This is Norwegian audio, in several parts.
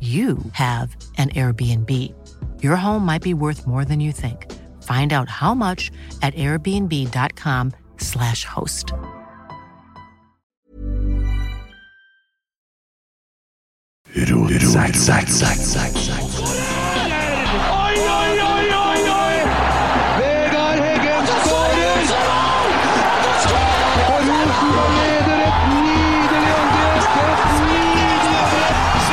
you have an Airbnb. Your home might be worth more than you think. Find out how much at airbnb.com/slash host. Zack, zack, zack, zack, Oi, oi, oi, oi, oi! Vegard Heggen skårer! Og Rosenborg leder et nydelig angrep! Et nydelig angrep!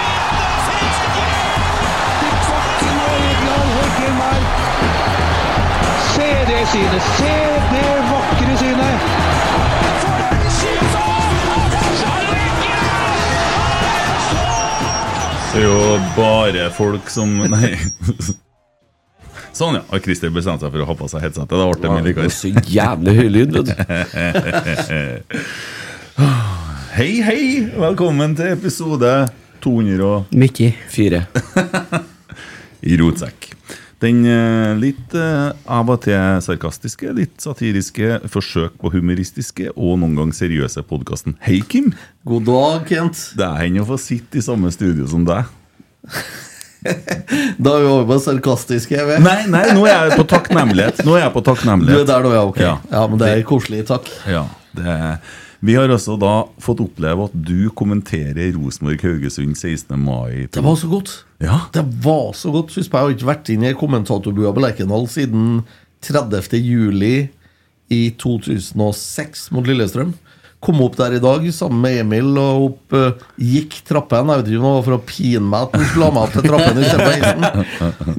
Til bakken og Egil Heggen her. Se det synet! Se det vakre synet! Det er jo bare folk som Nei. Sånn, ja. Og Christer bestemte seg for å ha på seg headsetet. Da ble det min Det var vikar. så jævlig høy lyd, vet du. Hei, hei! Velkommen til episode 200 og Mickey. Fire. i rotsekk. Den eh, litt eh, av og til sarkastiske, litt satiriske, forsøk på humoristiske og noen gang seriøse podkasten Hei, Kim! God dag, Kent. Det er henne å få sitte i samme studio som deg. Da er vi over på sarkastisk jeg vet. Nei, nei, nå er jeg på takknemlighet. Nå er jeg på Du er takknemlighet. der nå, ja. Ok. Ja. Ja, men det er koselig. Takk. Ja, det Vi har også da fått oppleve at du kommenterer Rosenborg-Haugesund 16. mai. Det var så godt. Ja, Det var så godt. Husk på, jeg har ikke vært inne i kommentatorbua på Lerkendal siden 30. juli i 2006 mot Lillestrøm. Kom opp der i dag sammen med Emil og opp, eh, gikk trappen. Jeg vet ikke om det var for å pine meg at han skulle ha meg opp til trappen. i stedet for heisen.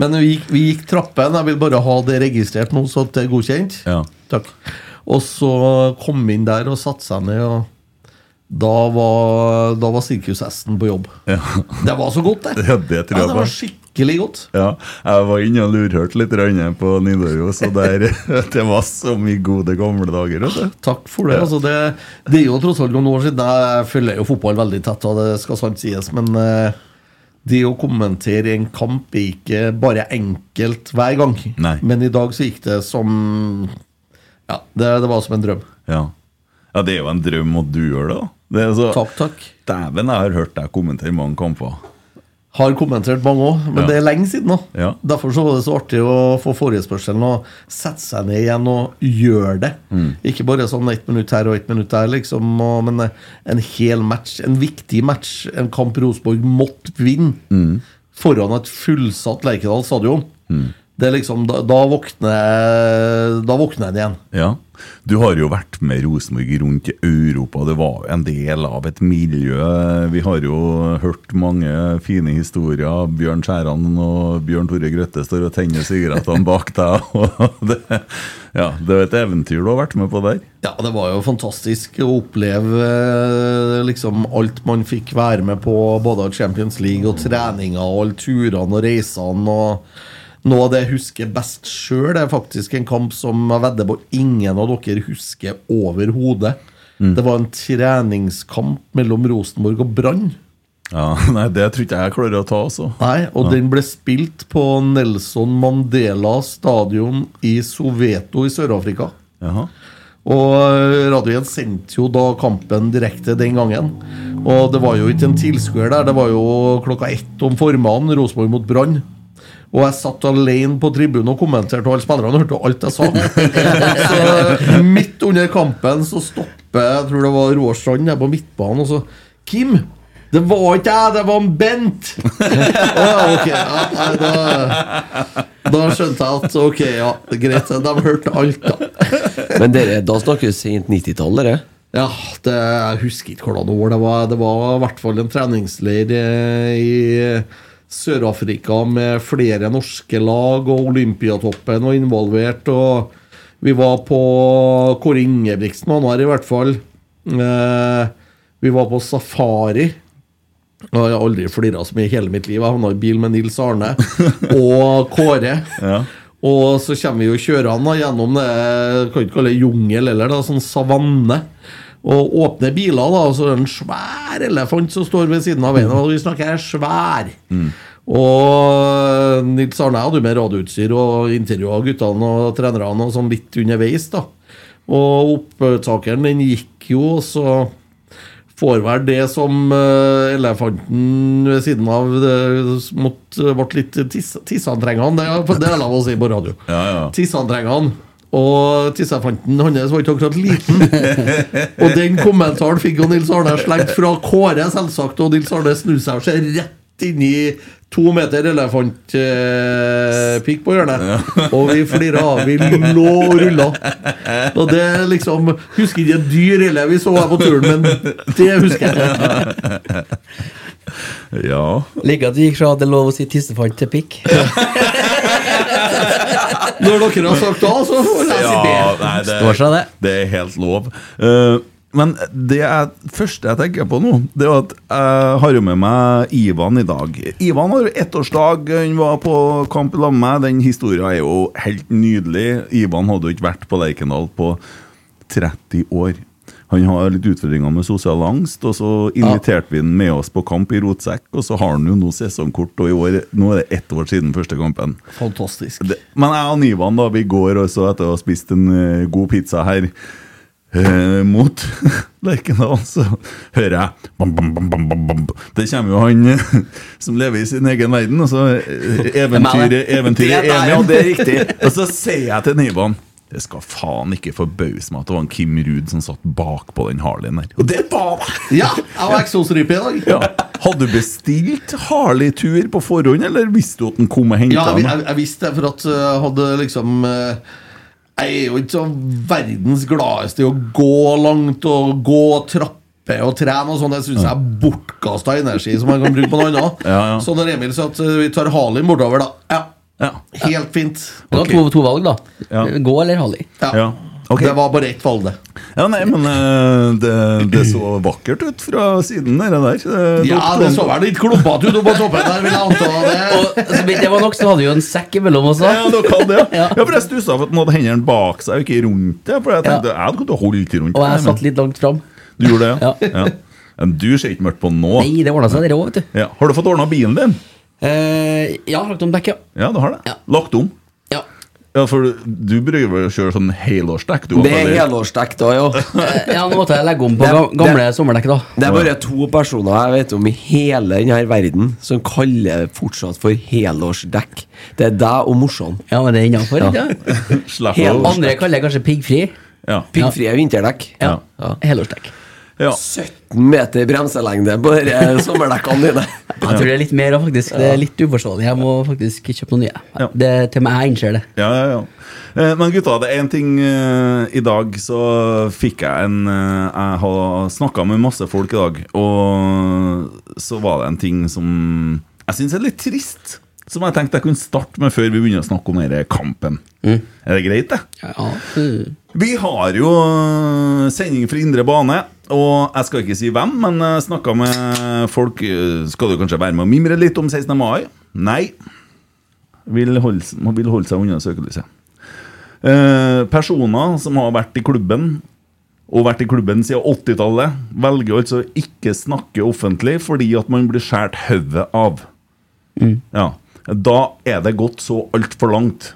Men vi gikk, vi gikk trappen. Jeg vil bare ha det registrert nå, så at det er godkjent. Ja. Takk. Og så kom vi inn der og satte seg ned. og da var, da var sirkushesten på jobb. Det var så godt, det. Ja, det tror jeg Ja, det på. var skikkelig godt. ja. Jeg var inne og lurhørte litt grann på Nidaros, og der, det var så mye gode gamle dager. vet du. Takk for det. Altså, det. Det er jo tross alt noen år siden. Jeg følger jo fotball veldig tett, og det skal sant sies, men eh, det å kommentere en kamp er ikke bare enkelt hver gang. Nei. Men i dag så gikk det som Ja, det, det var som en drøm. Ja. ja, det er jo en drøm at du gjør det. da. Det er så, Takk, takk. Dæven, jeg har hørt deg kommentere mange kamper. Har kommentert mange òg, men Ja. det er lenge siden nå. Ja. Derfor så var det så artig å få forespørselen og sette seg ned igjen og gjøre det. Mm. Ikke bare sånn ett minutt her og ett minutt der, liksom, og, men eh, en hel match. En viktig match. En kamp Rosenborg måtte vinne Mm. foran et fullsatt Lerkendal stadion. Det er liksom, da, da våkner Da våkner en igjen. Ja. Du har jo vært med Rosenborg rundt i Europa. Det var jo en del av et miljø. Vi har jo hørt mange fine historier. Bjørn Skjæran og Bjørn Tore Grøtte står og tenner sigarettene bak deg. og Det, ja, det er et eventyr du har vært med på der. Ja, det var jo fantastisk å oppleve eh, liksom alt man fikk være med på, både av Champions League og treninga og alle turene og reisene. og Noe av det jeg husker best sjøl, er faktisk en kamp som jeg vedder på ingen av dere husker overhodet. Det var en treningskamp mellom Rosenborg og Brann. Ja, nei, det tror ikke jeg klarer å ta, altså. Nei, og den ble spilt på Nelson Mandela stadion i Soweto i Sør-Afrika. Jaha. Og eh, radioen sendte jo da kampen direkte den gangen. Og det var jo ikke en tilskuer der, det var jo klokka ett om formiddagen, Rosenborg mot Brann. Og jeg satt alene på tribunen og kommenterte, og alle spillerne hørte alt jeg sa. Så eh, midt under kampen så stopper jeg tror det var Roar Strand jeg på midtbanen, og så Kim! Det var ikke jeg, det var en Bent! Å ja, ok. Ja, nei, da, da skjønte jeg at ok, ja, greit. De hørte alt, da. Men dere, da snakker vi sent 90-tall, dere. Ja, det, jeg husker ikke hvordan år det var. Det var i hvert fall en treningsleir eh, i Sør-Afrika med flere norske lag, og Olympiatoppen var involvert. Og vi var på Kåre Ingebrigtsen, han var i hvert fall. Eh, Vi var på safari. Og jeg har aldri flira så mye i hele mitt liv. Jeg havna i bil med Nils Arne og Kåre. Og så kommer vi jo kjørende da, gjennom det jeg kan ikke kalle det jungel eller da, sånn savanne. Og åpner biler, da, og så er det en svær elefant som står ved siden av veien. Og vi snakker her svær. Og Nils Arne hadde jo med radioutstyr og intervjua guttene og trenerne og sånn litt underveis. da. Og opptakeren, den gikk jo, og så får vel det som eh, elefanten ved siden av det, mot, ble litt tisse- tisseantrengende. Det, er- det er lov å si på radio. Ja, ja. Tisseantrengende. Og tissefanten hans var ikke akkurat liten. og den kommentaren fikk jo Nils Arne slengt fra Kåre, selvsagt. Og Nils Arne snur seg og ser rett inn i to meter elefantpikk eh, pikk på hjørnet. Og vi flira av. Vi lå og rulla. Og det er liksom Husker ikke et dyr heller. Vi så her på turen, men det husker jeg. ja. Liker at det gikk fra at det er lov å si tissefant til pikk. Når dere har sagt A, så får jeg si B. Ja, nei, det, Står seg det. Det er helt lov. Eh, men det jeg, første jeg tenker på nå, Det er at jeg har jo med meg Ivan i dag. Ivan har jo ettårsdag, han var på kamp sammen med meg. Den historien er jo helt nydelig. Ivan hadde jo ikke vært på Lerkendal på 30 år. Han har litt utfordringer med sosial angst, og så inviterte vi han med oss på kamp i Rotsekk, og så har han jo nå sesongkort, og i år, nå er det ett år siden første kampen. Fantastisk. Det, men jeg og Ivan da, vi går også etter å ha spist en eh, god pizza her eh, mot Lerkendal, så hører jeg bam, bam, bam, bam, bam, bam. Det kommer jo han eh, som lever i sin egen verden, og så eh, eventyret, eventyret Emil. Ja, det er riktig. Og så sier jeg til Ivan det skal faen ikke forbause meg at det var en Kim Ruud som satt bakpå den Harleyen der. Og det var det! Ja, jeg var eksosrype i dag. Ja. Hadde du bestilt Harley-tur på forhånd, eller visste du at den kom og henta Ja, jeg, den? jeg, jeg visste det, for at eh, jeg hadde liksom eh, Jeg er jo ikke så verdens gladeste i å gå langt og gå trapper og trene og sånn. Det syns jeg er bortkasta energi som jeg kan bruke på noe annet. Ja, ja. Så når Emil sa at eh, vi tar Harley bortover, da Ja, Ja. helt fint. Du har to, to valg, da. Ja. Gå eller Harley. Ja. Ja. Ok. Det var bare ett valg, det. Ja, nei, men eh, det, det så vakkert ut fra siden der. der. Det- sånn. Ja, det så vel litt klumpete ut oppå toppen der, vil jeg anta. Og så vidt det var nok, så hadde vi jo en sekk imellom oss. da. Ja, dere hadde det. Ja. Ja. ja, for jeg stussa over at han hadde hendene bak seg, og ikke rundt det. For jeg tenkte, jeg hadde kunnet holde ikke rundt Og det, jeg men satt litt langt fram. Du gjorde det, ja. Ja. ja. Men du ser ikke mørkt på nå. Nei, det ordna seg, dere òg, vet du. Ja. Har du fått ordna bilen din? Eh, ja, lagt om dekket. Ja, du har det. Ja. Lagt om. Ja. Ja, for du- du bruker vel å kjøre sånn helårsdekk, du? Det er eller? helårsdekk da, jo. Eh, ja, nå måtte jeg legge om på Det- ga- gamle det- sommerdekk, da. Det er bare to personer jeg vet om i hele denne verden som kaller det fortsatt for helårsdekk. Det er deg og morsan. Ja, men det er innafor. Ja. Slapp Hel- av. Andre kaller det kanskje piggfri. Ja. Piggfrie vinterdekk. Ja. Ja. Helårsdekk. Ja. 17 meter bremselengde på dere sommerdekkene dine. Jeg tror det er litt mer, da, faktisk. Det er litt uforståelig. Jeg må faktisk kjøpe noen nye. Ja. Det, til og med jeg innser det. Ja, ja, ja. Eh, Men gutta, det er én ting eh, I dag så fikk jeg en eh, Jeg har snakka med masse folk i dag, og så var det en ting som jeg syns er litt trist. Som jeg tenkte jeg kunne starte med før vi begynner å snakke om denne kampen. Er det greit, det? Ja. mm. Vi har jo eh, sending fra indre bane, og jeg skal ikke si hvem, men jeg snakka med folk eh, Skal du kanskje være med og mimre litt om 16. mai? Nei. Vil holde, man vil holde seg unna søkelyset. Eh, personer som har vært i klubben og vært i klubben siden 80-tallet, velger altså å ikke snakke offentlig fordi at man blir skåret hodet av. Ja. Da er det gått så altfor langt.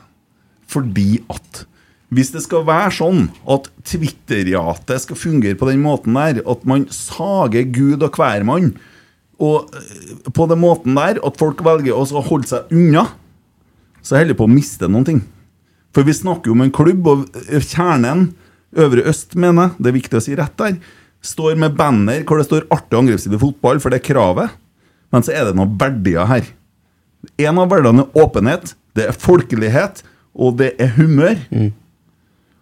Fordi at hvis det skal være sånn at Twitter-jatet skal fungere på den måten der, at man sager Gud og hvermann og eh, på den måten der at folk velger å så holde seg unna, så jeg holder på å miste noen ting. For vi snakker jo om en klubb, og eh, kjernen, Øvre Øst, mener jeg, det er viktig å si rett der, står med banner hvor det står 'artig angrepsside fotball', for det er kravet. Men så er det noen verdier her. En av verdiene er åpenhet, det er folkelighet, og det er humør.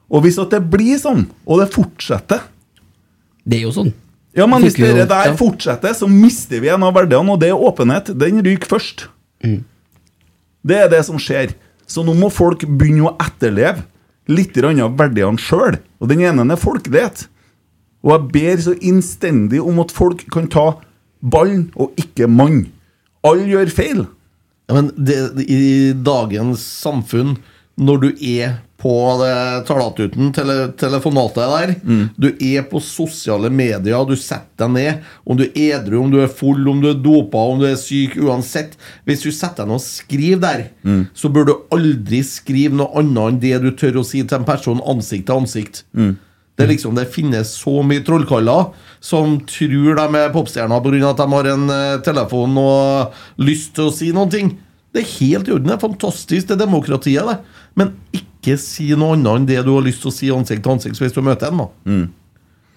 Og hvis at det blir sånn, og det fortsetter Det er jo sånn. ja, men Det Hvis funker jo, det der ja. fortsetter, så mister vi en av verdiene, og det er åpenhet. Den ryker først. Det er det som skjer. Så nå må folk begynne å etterleve litt grann av verdiene sjøl. Og den ene er folkelighet. Og jeg ber så innstendig om at folk kan ta ballen og ikke mann. Alle gjør feil. Ja, men det, i dagens samfunn, når du er på det talatuten, tele, telefonatet der Mm. Du er på sosiale medier, du setter deg ned. Om du er edru, om du er full, om du er dopa, om du er syk, uansett. Hvis du setter deg ned og skriver der, Mm. så bør du aldri skrive noe annet enn det du tør å si til en person ansikt til ansikt. Mm. Det er liksom, det finnes så mye trollkaller som tror de er popstjerner pga. at de har en eh, telefon og lyst til å si noen ting. Det er helt i orden. Det er fantastisk, det er demokratiet, det. Men ikke si noe annet enn det du har lyst til å si ansikt til ansikt hvis du møter en.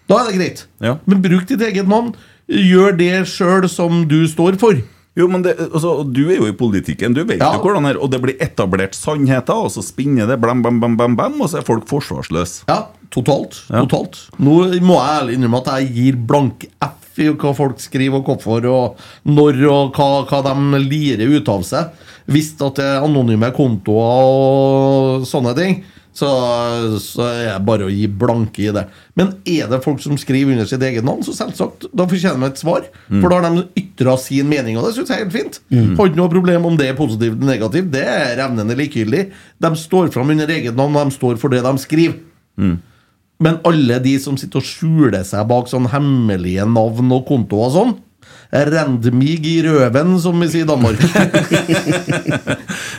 Da, da er det greit. Ja. Men bruk ditt eget navn. Gjør det sjøl som du står for. Jo, men det, altså, Du er jo i politikken, du vet Ja. jo hvordan det er. Og det blir etablert sannheter, og så spinner det, blam, bam, bam, bam, bam, og så er folk forsvarsløse. Ja, totalt. totalt. Nå må jeg ærlig innrømme at jeg gir blank F i hva folk skriver, og hvorfor, og når, og hva, hva de lirer ut av seg. Hvis at det er anonyme kontoer og sånne ting, så, så er det bare å gi blanke i det. Men er det folk som skriver under sitt eget navn, så selvsagt, da fortjener de et svar. For da har de ytra sin mening, og det syns jeg er helt fint. Har ikke noe problem om det er positivt eller negativt, det er revnende likegyldig. De står fram under eget navn, og de står for det de skriver. Men alle de som sitter og skjuler seg bak sånn hemmelige navn og kontoer og sånn Rendmig i røven, som vi sier i Danmark.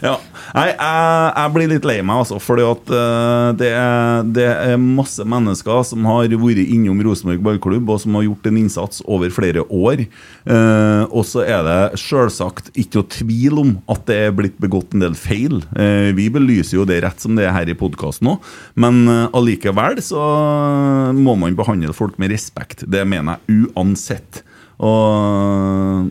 Ja. Nei, jeg, jeg blir litt lei meg, altså. Fordi at eh, det, er, det er masse mennesker som har vært innom Rosenborg ballklubb, og som har gjort en innsats over flere år. Eh, og så er det sjølsagt ikke å tvil om at det er blitt begått en del feil. Eh, vi belyser jo det rett som det er her i podkasten òg, men eh, allikevel så må man behandle folk med respekt. Det mener jeg uansett. Og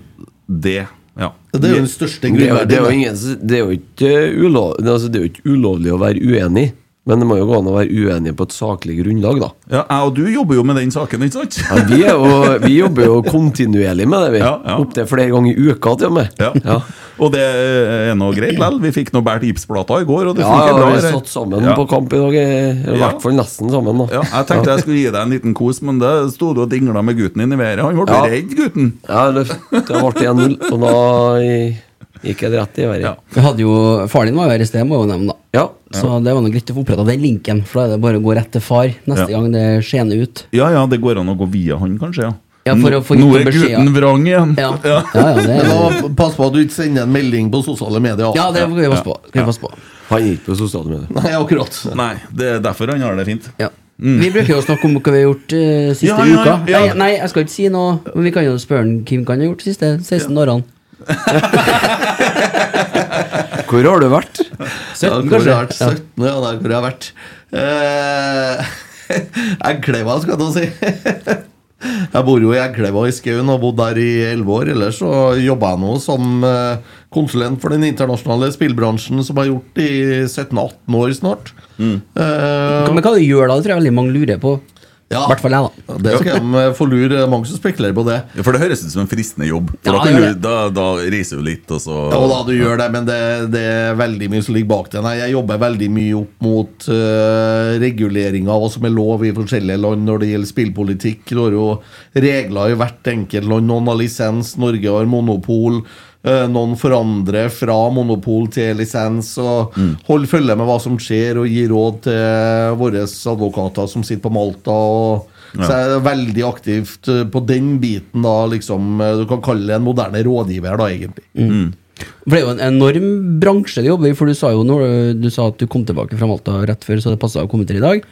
det Ja. Det er jo den største Det er, jo- det, er jo grunnverdien. ingen, som- det, er jo ikke ulov, det er altså, det er jo ikke ulovlig å være uenig, men det må jo gå an å være uenig på et saklig grunnlag, da. Ja, jeg og du jobber jo med den saken, ikke sant? Ja, vi, er jo, vi jobber jo kontinuerlig med det, vi. Ja, ja. Opptil flere ganger i uka, til og med. Ja. Ja. Og det eh, er nå greit lell. Vi fikk nå båret gipsplata i går, og det Ja, funker bra. vi det her. satt sammen Ja. på kamp i dag. eh, I Ja. hvert fall nesten sammen, da. Ja, jeg tenkte jeg skulle gi deg en liten kos, men det sto du og dingla med gutten din i været. Han ble Ja. redd, gutten. Ja, det, det ble 1-0, og da i- gikk jeg rett i været. Ja. Vi hadde jo, Faren din var jo her i sted, må jeg jo nevne, da. Ja. Så det var nok greit å få oppretta den linken, for da er det bare å gå rett til far neste Ja. gang det skjener ut. Ja ja, det går an å gå via han, kanskje. ja. Ja, for å få gitt Nå er noen beskjed, gutten vrang igjen. Ja, ja, ja det Men er da, pass på at du ikke sender en melding på sosiale medier. altså. ja, det kan vi passe på. Kan vi passe på. Han gikk på sosiale medier. Nei, akkurat. Nei, det er derfor han har det fint. Ja. Vi bruker jo å snakke om hva vi har gjort eh, siste Mm. Ja, ja, uka. ja. Nei, nei, jeg skal ikke si noe, men vi kan jo spørre han hvem han har gjort de siste 16 årene. Hvor har du vært? 17, hvor jeg kanskje? har vært 17, ja, der hvor jeg har vært. Eh, Eggkleva, skal jeg nå si. Jeg bor jo i Eggkleva i Skaun og har bodd der i elleve år. Ellers så jobba jeg nå som eh, konsulent for den internasjonale spillbransjen, som jeg har gjort i 17-18 år snart. Eh, Mm. Men hva du gjør da, det tror jeg veldig mange lurer på. I Ja. hvert fall jeg, da. ja, det skal de få lure. Det er Mange som spekulerer på det. Ja, For det høres ut som en fristende jobb. For Ja, da, kan det gjør du, da, da reiser du litt, og så Ja, og da du gjør det, men det, det er veldig mye som ligger bak det. Nei, jeg jobber veldig mye opp mot uh, regulering av hva som er lov i forskjellige land når det gjelder spillpolitikk. Du har jo regler i hvert enkelt land. Noen har lisens, Norge har monopol. eh, noen forandrer fra monopol til lisens. Og Hold følge med hva som skjer, og gi råd til våre advokater som sitter på Malta. og Så jeg er veldig aktivt eh, på den biten, da, liksom eh, Du kan kalle det en moderne rådgiver, da, egentlig. For det er jo en enorm bransje du jobber i, for du sa jo når du sa at du kom tilbake fra Malta rett før, så det passa å komme til i dag.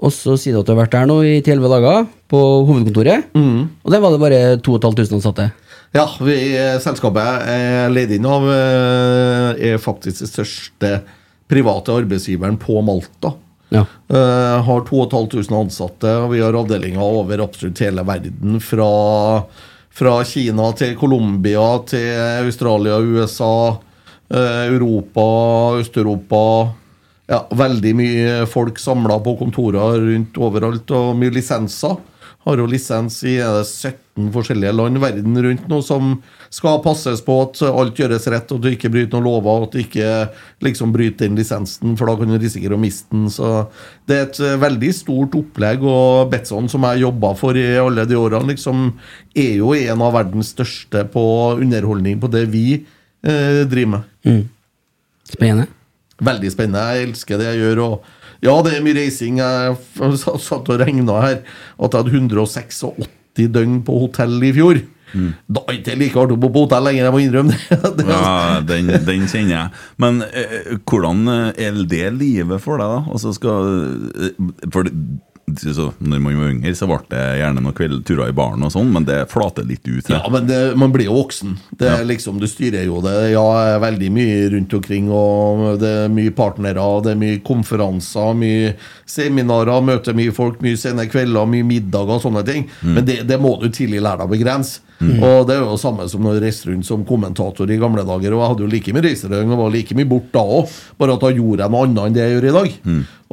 Og så sier du at du har vært der nå i 10-11 dager, på hovedkontoret. Og der var det bare 2500 ansatte. Ja, vi, eh, selskapet er leid inn av eh, er faktisk den største private arbeidsgiveren på Malta. Ja. Eh, har 2500 ansatte, og vi har avdelinger over absolutt hele verden. Fra, fra Kina til Colombia til Australia, USA, eh, Europa, Øst-Europa. Ja, veldig mye folk samla på kontorer rundt overalt, og mye lisenser. Har jo lisens i er det 17 forskjellige land verden rundt nå som skal passes på at alt gjøres rett, og at du ikke bryter noen lover, og at du ikke liksom bryter den lisensen, for da kan du risikere å miste den. Så det er et eh, veldig stort opplegg, og Betson, som jeg jobba for i alle de årene, liksom er jo en av verdens største på underholdning på det vi eh, driver med. Spennende. Veldig spennende. Jeg elsker det jeg gjør. og ja, det er mye reising. Jeg f- satt og regna her at jeg hadde 186 døgn på hotell i fjor. Da er det ikke like artig å bo på hotell lenger, jeg må innrømme det. det er, Ja, den, den kjenner jeg. Men eh, hvordan eh, er det livet for deg, da? Altså skal, eh, for det, så, når man var yngre, så ble det gjerne noen kveldturer i baren og sånn, men det flater litt ut. det. Ja, men det, man blir jo voksen. Det er liksom, Du styrer jo det. Ja, jeg er veldig mye rundt omkring, og det er mye partnere, og det er mye konferanser, mye seminarer, møter mye folk, mye sene kvelder, mye middager og sånne ting. Men det, det må du tidlig lære deg å begrense. Og det er jo det samme som når jeg reiste rundt som kommentator i gamle dager, og jeg hadde jo like mye reisedøgn og var like mye bort da òg, bare at da gjorde jeg noe annet enn det jeg gjør i dag.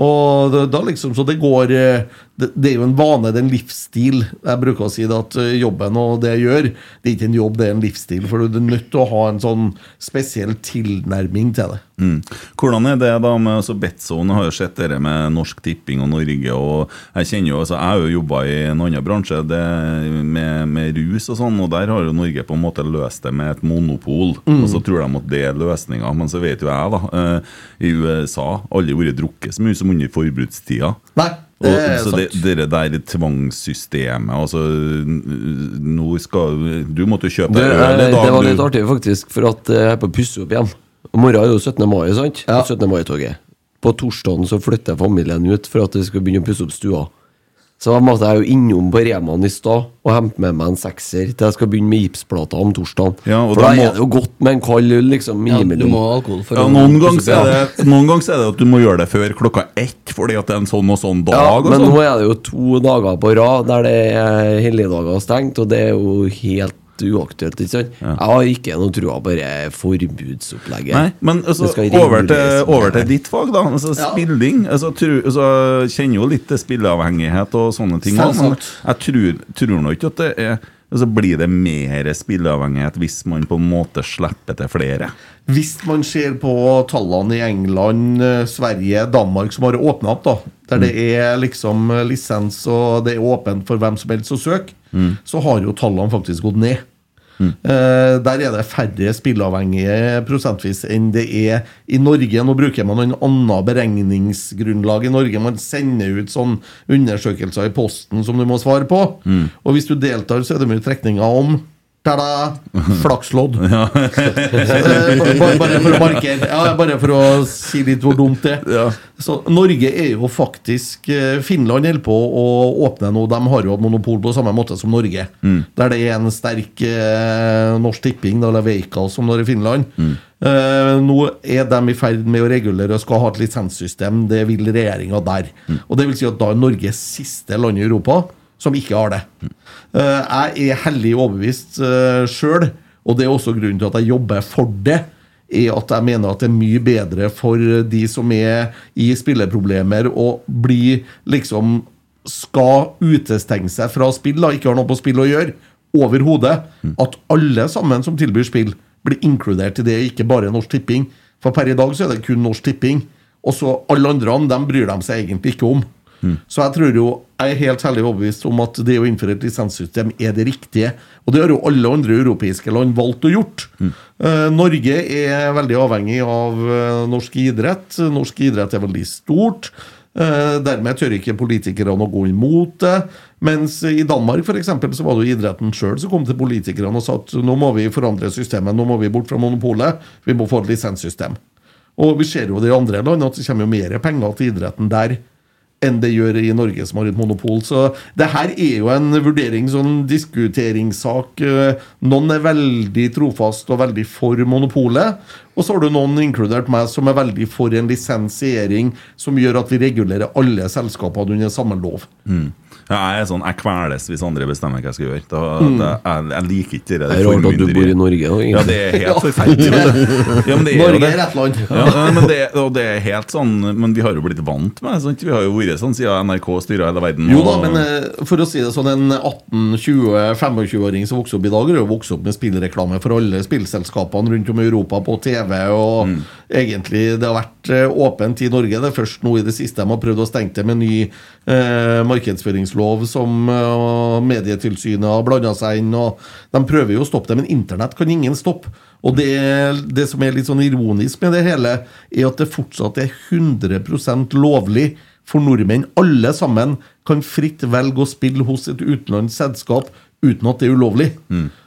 Og da, da liksom, Så det går eh, det, det er jo en vane, det er en livsstil. Jeg bruker å si det at eh, jobben og det jeg gjør, det er ikke en jobb, det er en livsstil. For du er nødt til å ha en sånn spesiell tilnærming til det. Mm. Hvordan er det da med altså Betson? Jeg har jo sett dere med Norsk Tipping og Norge. og Jeg kjenner jo, altså jeg har jo jobba i en annen bransje det, med, med rus og sånn, og der har jo Norge på en måte løst det med et monopol. Og så tror de at det er løsninga, men så vet jo jeg, da. Eh, I USA har aldri vært drukket så mye som under forbudstida. Nei, Og, det er så sant. det, dere der tvangssystemet altså, Nå skal Du måtte jo kjøpe Det, deg øl i eh, dag, det var du. litt artig, faktisk, for at eh, jeg er på å pusse opp igjen. Og morgenen er jo 17. mai, sant? 17. mai-toget. På torsdagen så flytter familien ut for at vi skal begynne å pusse opp stua. Så da måtte jeg jo innom på Remaen i stad og hente med meg en sekser til jeg skal begynne med gipsplater om torsdagen. Ja, og for da da må- er det jo godt med en kald øl, liksom, Ja, du innimellom. må ha alkohol for Ja, noen ganger er, det- noen ganger er det at du må gjøre det før klokka ett, fordi at det er en sånn og sånn dag. Ja, og men nå sånn. er det jo to dager på rad der det er helligdager stengt, og det er jo helt uaktuelt. ikke sant? Jeg har ikke noe trua på det forbudsopplegget. Nei, men altså, Det skal over, reguleres til, med- over til ditt fag, da. Altså, Ja. Spilling. Altså, tru, altså, kjenner jo litt til spilleavhengighet og sånne ting. også, Men jeg tror, tror nå ikke at det er altså, Blir det mer spilleavhengighet hvis man på en måte slipper til flere? Hvis man ser på tallene i England, eh, Sverige, Danmark, som har åpna opp, da, der det er liksom eh, lisens og det er åpent for hvem som helst å søke, så har jo tallene faktisk gått ned. Eh, der er det færre spilleavhengige prosentvis enn det er i Norge. Nå bruker man en annen beregningsgrunnlag i Norge. Man sender ut sånn undersøkelser i posten som du må svare på. Og hvis du deltar, så er det mye trekninger om Ta-da! Flakslodd. Eh, bare, bare for å markere ja, Bare for å si litt hvor dumt det er. Så Norge er jo faktisk eh, Finland holder på å åpne nå. De har jo hatt monopol på samme måte som Norge. Der det er en sterk eh, Norsk Tipping, da, eller Veikal, som det er i Finland. Eh, nå er de i ferd med å regulere og skal ha et lisenssystem. Det vil regjeringa der. Og det vil si at da er Norge siste land i Europa som ikke har det. Eh, jeg er hellig overbevist uh, sjøl, og det er også grunnen til at jeg jobber for det. Er at jeg mener at det er mye bedre for de som er i spilleproblemer, å bli liksom skal utestenge seg fra spill, da, ikke har noe på spill å gjøre, overhodet. At alle sammen som tilbyr spill, blir inkludert i det, ikke bare Norsk Tipping. For per i dag så er det kun Norsk Tipping. Og så alle andre, dem bryr de seg egentlig ikke om. Så jeg tror jo, jeg er helt hellig overbevist om at det å innføre et lisenssystem er det riktige. Og det har jo alle andre europeiske land valgt å gjort. Eh, Norge er veldig avhengig av eh, norsk idrett. Norsk idrett er veldig stort. Eh, Dermed tør ikke politikerne å gå imot det. Mens i Danmark for eksempel, så var det jo idretten sjøl som kom til politikerne og sa at nå må vi forandre systemet, nå må vi bort fra monopolet, vi må få et lisenssystem. Og vi ser jo det i andre land at det kommer jo mer penger til idretten der enn det gjør i Norge, som har et monopol. Så det her er jo en vurdering, sånn diskuteringssak. Eh, Noen er veldig trofast og veldig for monopolet. Og så har du noen, inkludert meg, som er veldig for en lisensiering som gjør at vi regulerer alle selskapene under samme lov. Mm. Ja, jeg er sånn, jeg kveles hvis andre bestemmer hva jeg skal gjøre. Da, Mm. da, jeg, jeg liker ikke det. Det er rart at du bor i Norge, da, egentlig. Ja, det er helt forferdelig. Ja, men det jo Norge det. er ett land. Ja, nei, men, det, og det er helt sånn, men vi har jo blitt vant med det. sant? Vi har jo vært sånn siden NRK styrer hele verden. Jo da, og- men eh, for å si det sånn, en 18-20-25-åring som vokser opp i dag, har jo vokst opp med spillreklame for alle spillselskapene rundt om i Europa på TV, og egentlig det har vært eh, åpent i Norge. Det er først nå i det siste de har prøvd å stenge det med ny eh, markedsføringslov som eh, Medietilsynet har blanda seg inn, og de prøver jo å stoppe det, men internett kan ingen stoppe. Og det, det som er litt sånn ironisk med det hele, er at det fortsatt er 100 lovlig for nordmenn. Alle sammen kan fritt velge å spille hos et utenlandsk selskap uten at det er ulovlig.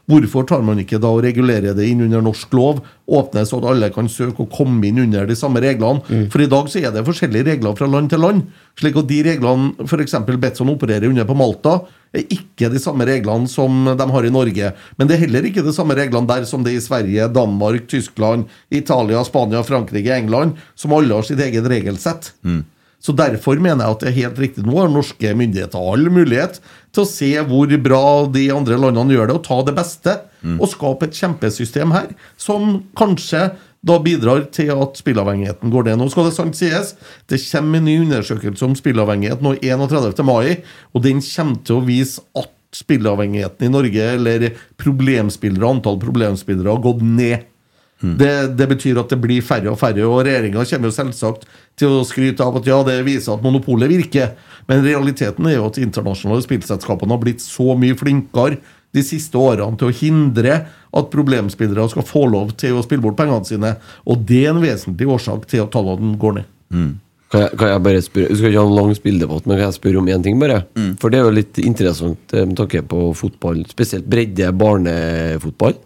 Hvorfor tar man ikke da og regulerer det inn under norsk lov? Åpner så at alle kan søke og komme inn under de samme reglene? For i dag så er det forskjellige regler fra land til land. slik at de reglene f.eks. Betson opererer under på Malta, er ikke de samme reglene som de har i Norge. Men det er heller ikke de samme reglene der som det er i Sverige, Danmark, Tyskland, Italia, Spania, Frankrike, England, som alle har sitt eget regelsett. Så derfor mener jeg at det er helt riktig. Nå har norske myndigheter all mulighet til å se hvor bra de andre landene gjør det, og ta det beste. Og skape et kjempesystem her, som kanskje da bidrar til at spillavhengigheten går ned. Nå skal det sant sies, det kommer en ny undersøkelse om spillavhengighet nå 31. mai, og den kommer til å vise at spillavhengigheten i Norge, eller problemspillere, antall problemspillere, har gått ned. Mm. Det, det betyr at det blir færre og færre, og regjeringa kommer jo selvsagt til å skryte av at ja, det viser at monopolet virker, men realiteten er jo at de internasjonale spillselskapene har blitt så mye flinkere de siste årene til å hindre at problemspillere skal få lov til å spille bort pengene sine, og det er en vesentlig årsak til at tallene går ned. Kan jeg, kan jeg bare spørre, Du skal ikke ha en lang spilldebatt, men kan jeg spørre om én ting, bare? For det er jo litt interessant eh, med tanke på fotball, spesielt bredde barnefotball.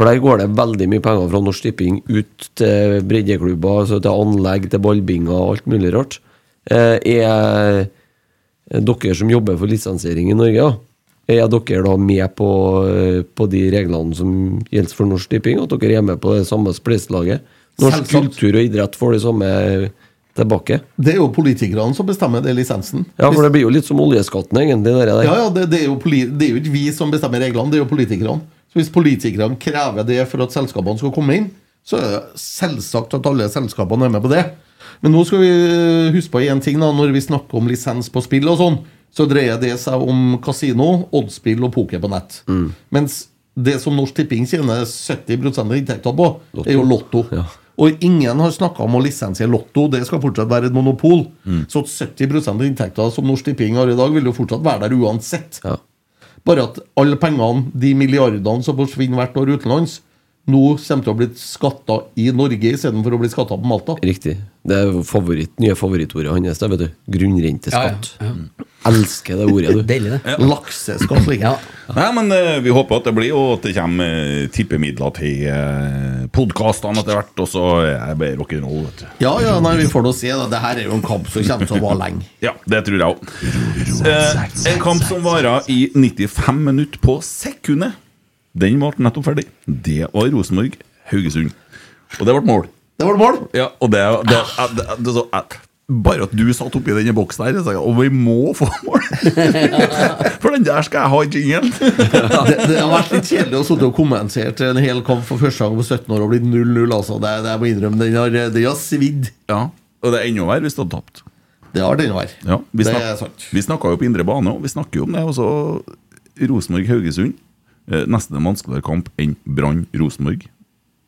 For der går det veldig mye penger fra Norsk Tipping ut til breddeklubber, altså til anlegg, til ballbinger og alt mulig rart. Eh, Er dere som jobber for lisensiering i Norge, da, er dere da med på, eh, på de reglene som gjelder for Norsk Tipping? At dere er med på det samme spleiselaget? Norsk Selvsagt. kultur og idrett får det samme tilbake? Det er jo politikerne som bestemmer det lisensen. Ja, for det blir jo litt som oljeskatten, egentlig. Det der. Ja, ja, det, det, er jo poli det er jo ikke vi som bestemmer reglene, det er jo politikerne. Så hvis politikerne krever det for at selskapene skal komme inn, så er det selvsagt at alle selskapene er med på det. Men nå skal vi huske på én ting da, når vi snakker om lisens på spill og sånn, så dreier det seg om kasino, oddspill og poker på nett. Mens det som Norsk Tipping tjener 70 av inntektene på, er jo lotto. Og ingen har snakka om å lisensiere lotto, det skal fortsatt være et monopol. Så at 70 av inntektene som Norsk Tipping har i dag, vil jo fortsatt være der uansett. Bare at alle pengene, de milliardene som forsvinner hvert år utenlands, nå kommer til å bli skatta i Norge istedenfor å bli skatta på Malta. Riktig. Det er jo favoritt, nye favorittordet hans, det vet du. Grunnrenteskatt. Ja, ja, Elsker det ordet, du. Deilig, det. Lakseskatt, ligger Nei, men eh, vi håper at det blir, og at det kommer eh, tippemidler til eh, podkastene etter hvert. Og så er jeg bare rock'n'roll, vet du. Ja, ja, nei, vi får nå se. da. Det her er jo en kamp som kommer til å vare lenge. Ja, det tror jeg òg. Eh, en kamp som varer i 95 minutter på sekundet. Den ble nettopp ferdig. Det var Rosenborg-Haugesund. Og det ble mål. Det ble mål? Ja, og det, det, jeg- det, det, så, jeg, Bare at du satt oppi denne boksen her, så jeg, og vi må få mål! For den der skal jeg ha i jingelen! det, det har vært litt kjedelig å sitte og kommentere til en hel kamp for første gang på 17 år og blitt 0-0. altså. Det, det jeg må innrømme, den har, den har svidd. Ja, Og det er enda verre hvis du hadde tapt. Det har den vært. Ja, vi Det snak, er sant. Vi snakka jo på indre bane òg. Vi snakker jo om det. Og så Rosenborg-Haugesund. Eh, Nesten en vanskeligere kamp enn Brann-Rosenborg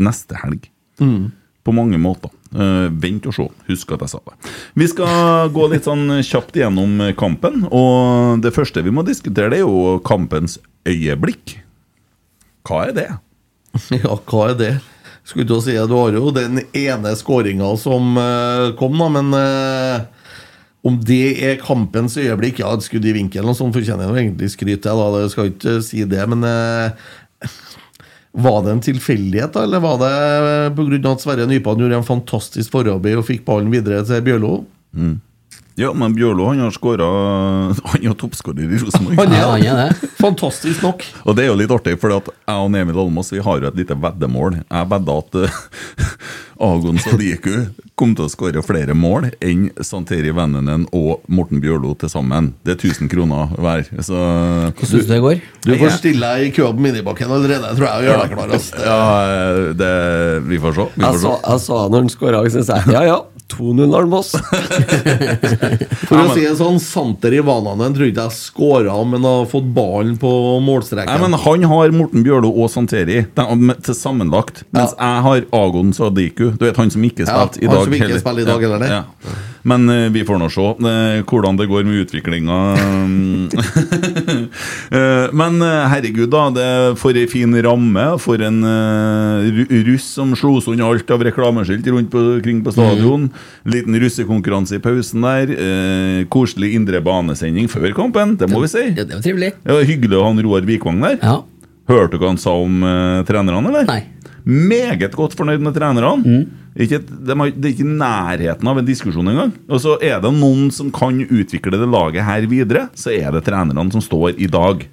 neste helg. Mm. På mange måter. Eh, vent og se. Husk at jeg sa det. Vi skal gå litt sånn kjapt gjennom kampen. Og det første vi må diskutere, det er jo kampens øyeblikk. Hva er det? Ja, hva er det? Skulle til å si Du har jo den ene skåringa som eh, kom, da, men eh, Om det er kampens øyeblikk, ja, et skudd i vinkelen og sånn, fortjener jeg jo egentlig skryt, jeg, da. Jeg skal ikke eh, si det, men eh, var det en tilfeldighet, da, eller var det eh, pga. at Sverre Nypan gjorde en fantastisk forarbeid og fikk ballen videre til Bjørlo? Mm. Ja, men Bjørlo han har skåra Han er toppskårer i Rosenborg. Han er, han er det. Fantastisk nok. Og det er jo litt artig, for jeg og Emil Almås vi har jo et lite veddemål. Jeg vedda at eh, Agon Sadiku kom til å skåre flere mål enn Santeri Vennenen og Morten Bjørlo til sammen. Det er 1000 kroner hver. Så Hvordan syns du det går? Du får stille deg i køa på minibakken allerede, tror jeg, og gjøre deg klar. ass. Ja, eh, det, vi får se. Vi Jeg får sa, se. jeg sa når han skåra, så sa jeg ja ja, 2-0 Almås. For å si det sånn, Santer Ivananen tror ikke jeg skåra, men har fått ballen på Nei, målstreken. men Han har Morten Bjørlo og Santeri de, med- til sammenlagt, mens jeg har Agon Sadiku. Du vet han som ikke Ja, spilte i han dag. som ikke heller. spiller i dag, Ja, eller det? Ja. Men eh, vi får nå se eh, hvordan det går med utviklinga. Eh, men eh, herregud, da. Det for ei fin ramme. For en eh, ru- russ som slo sund alt av reklameskilt rundt på, kring på stadion. Mm. Liten russekonkurranse i pausen der. Eh, koselig indre banesending før kampen, det må vi si. Ja, det var trivelig. Det var hyggelig å ha en Roar Vikvang der. Hørte du hva han sa om eh, trenerne, eller? Meget godt fornøyd med trenerne. Mm. Ikke, et- de har, det er ikke i nærheten av en diskusjon engang. Og så er det noen som kan utvikle det laget her videre, så er det trenerne som står i dag.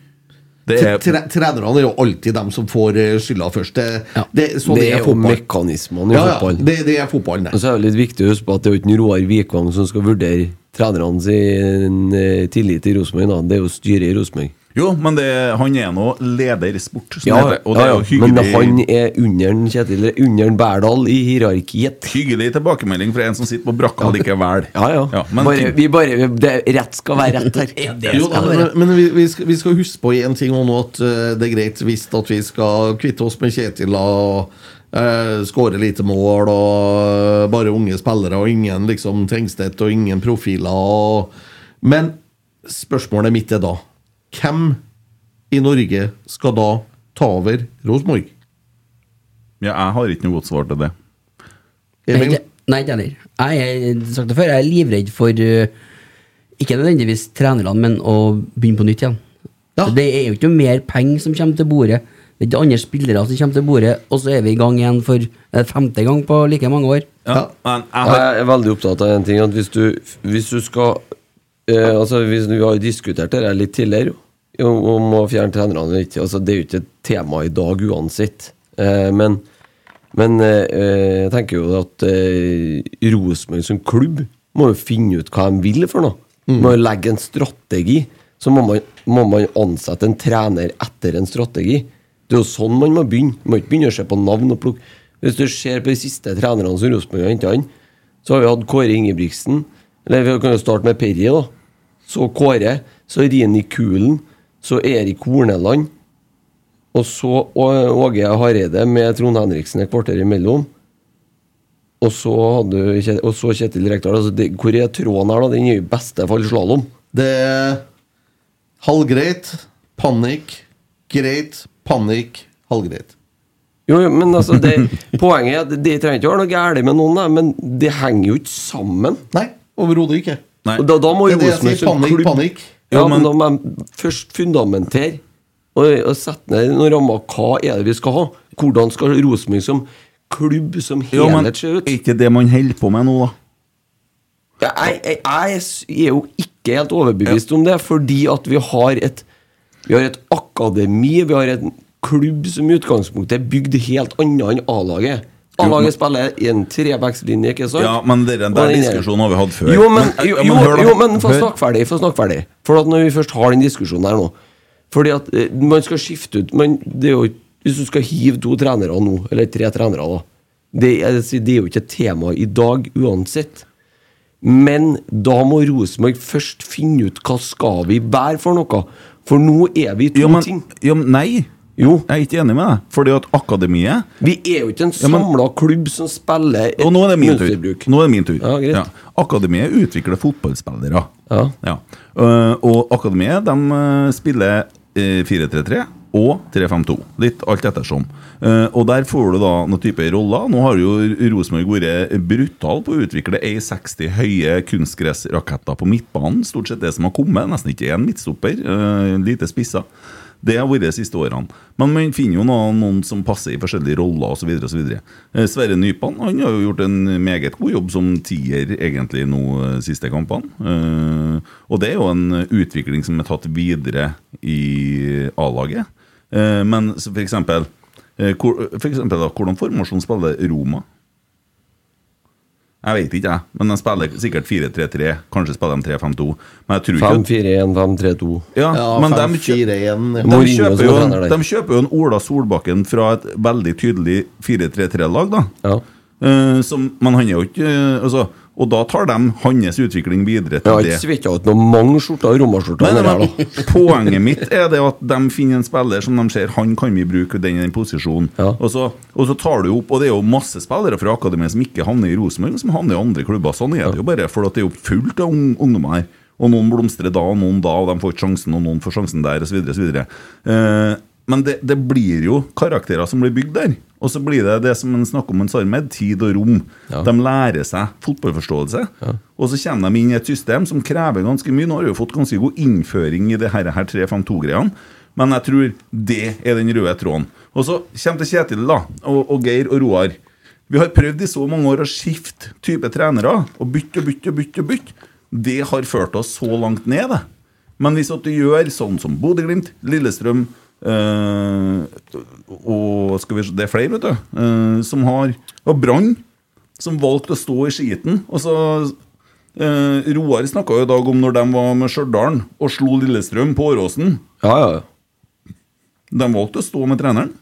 Det Tre- er tre- Trenerne er jo alltid dem som får eh, skylda først. Det, det, sånn Det er jo fotball. mekanismene i ja, ja, fotballen. det, det er fotballen, Og det. så er det litt viktig å huske på at det er jo ikke en Roar Vikvang som skal vurdere trenerne sin eh, tillit i Rosenborg, da. det er jo styret i Rosenborg. Jo, men det, han er nå leder sport, som Ja, det heter. Og det er jo ja, men hyggelig, han er under en Kjetil Under en Berdal i hierarkiet. hyggelig tilbakemelding fra en som sitter på brakka likevel. Ja, ja. men bare, ting- vi bare, vi, det, rett skal være rett her. Jo, da, men men vi, vi, skal, vi skal huske på én ting og nå at eh, det er greit visst at vi skal kvitte oss med Kjetil og eh, skåre lite mål og eh, bare unge spillere og ingen liksom Tengstedt og ingen profiler. Og, men spørsmålet mitt er da Hvem i Norge skal da ta over Rosenborg? ja, jeg har ikke noe godt svar til det. Emil? Nei, det- Nei, ikke heller. Jeg er sagt det før, jeg er livredd for eh, ikke nødvendigvis trenerne, men å begynne på nytt igjen. Det er jo ikke noe mer penger som kommer til bordet. Det er ikke andre spillere som kommer til bordet, og så er vi i gang igjen for eh, femte gang på like mange år. men jeg, er veldig opptatt av en ting. At hvis, du, hvis du skal eh, Altså hvis Vi har jo diskutert det her litt tidligere om, om å fjerne trenerne eller ikke. Altså, det er jo ikke et tema i dag uansett. Eh, men men eh, eh, jeg tenker jo at eh, Rosenborg som klubb må jo finne ut hva de vil for noe. Må jo legge en strategi. Så må man, må man ansette en trener etter en strategi. Det er jo sånn man må begynne. Man må ikke begynne å se på navn og plukke Hvis du ser på de siste trenerne som Rosenborg har henta inn, så har vi hatt Kåre Ingebrigtsen. Eller vi kan jo starte med Perry, da. Så Kåre. Så Rini Kulen. Så Erik Horneland. Og så Å- Åge Hareide med Trond Henriksen et kvarter imellom. Og så, hadde, du Kjet- og så Kjetil Rekdal. Altså det, hvor er tråden her, da? Den er jo i beste fall slalåm. Det er halvgreit, panikk, greit, panikk, halvgreit. Jo, jo, men altså det, Poenget er at det trenger ikke å være noe galt med noen, da, men det henger jo ikke sammen. Nei, overhodet ikke. Og da, da må Det er det jeg Rosenborg sier, som panikk, klubb- panikk. Ja, Jo, men men- da må de først fundamentere og, og sette ned noen rammer. Hva er det vi skal ha? Hvordan skal Rosenborg som klubb, som Jo, men helhet, se ut? er ikke det man holder på med nå, da? Ja, Jeg, jeg, jeg s- er jo ikke helt overbevist om det, fordi at vi har et Vi har et akademi, vi har en klubb som i utgangspunktet er bygd helt annet enn A-laget. Jo, A-laget men- spiller i en trebackslinje, ikke sant? Ja, men det- den der Og den er- diskusjonen har vi hatt før. Jo, men, Men- jo, ja, men jo, hør da. jo, men få Hør. snakke ferdig. Få snakke ferdig. For at når vi først har den diskusjonen her nå Fordi at eh, man skal skifte ut men det er jo, ikke- Hvis du skal hive to trenere nå, eller tre trenere, da Det er, det er jo ikke et tema i dag uansett. Men da må Rosenborg først finne ut hva skal vi være for noe. For nå er vi to Jo, men- ting. Jo, men nei. Jeg er ikke enig med deg. Fordi at akademiet Vi er jo ikke en Ja, men- samla klubb som spiller et Og nå er det min tur. mønsterbruk. Nå er det min tur. Ja, greit. Akademiet utvikler fotballspillere. Ja. Eh, og akademiet de eh, spiller eh, 4-3-3. og 352. Litt alt ettersom. Eh, og der får du da noen type roller. Nå har jo Rosenborg vært eh, brutal på å utvikle A60 høye kunstgressraketter på midtbanen. Stort sett det som har kommet. Nesten ikke én midtstopper. eh, lite spisser. Det har vært de siste årene. Men man finner jo noen, noen som passer i forskjellige roller osv. Eh, Sverre Nypan han har jo gjort en meget god jobb som tier egentlig nå eh, siste kampene. Eh, og det er jo en utvikling som er tatt videre i A-laget. Eh, men så for eksempel, eh, hvor, for eksempel da, hvordan formasjon spiller Roma? Jeg vet ikke, jeg. Men de spiller sikkert 4-3-3. Kanskje spiller de 3-5-2. Men jeg tror ikke at 5-4-1-5-3-2. ja, men de, kjø de, Mourinho kjøper som jo en, trener der. de kjøper jo en Ola Solbakken fra et veldig tydelig 4-3-3-lag, da. Eh, som, men han er jo ikke eh, altså, Og da tar de hans utvikling videre Jeg til har ikke det. svetta ut noen mange skjorter og Nei, romaskjorter. med det her, nei, da. men Poenget mitt er det at de finner en spiller som de ser han kan vi bruke den i den posisjonen. Og, så, og så tar du opp Og det er jo masse spillere fra akademiet som ikke havner i Rosenborg, men som havner i andre klubber. Sånn er det jo bare, for at det er jo fullt av ung- ungdommer her. Og noen blomstrer da, og noen da, og de får ikke sjansen, og noen får sjansen der, osv. Eh, men det, det blir jo karakterer som blir bygd der. Og så blir det det som en snakker om en Sarmed, tid og rom. De lærer seg fotballforståelse. Og så kommer de inn i et system som krever ganske mye. Nå har de jo fått ganske god innføring i det her, her 3-5-2-greiene. Men jeg tror det er den røde tråden. Og så kommer det Kjetil da, og, og Geir og Roar. Vi har prøvd i så mange år å skifte type trenere. Og bytte og bytte og bytte. og bytte. Det har ført oss så langt ned. det. Men hvis at du gjør sånn som Bodø-Glimt, Lillestrøm eh, Og skal vi se, det er flere, vet du. eh, som har Og Brann, som valgte å stå i skiten. Og så eh, Roar snakka jo i dag om når de var med Stjørdal og slo Lillestrøm på Åråsen. Ja, ja, ja. De valgte å stå med treneren.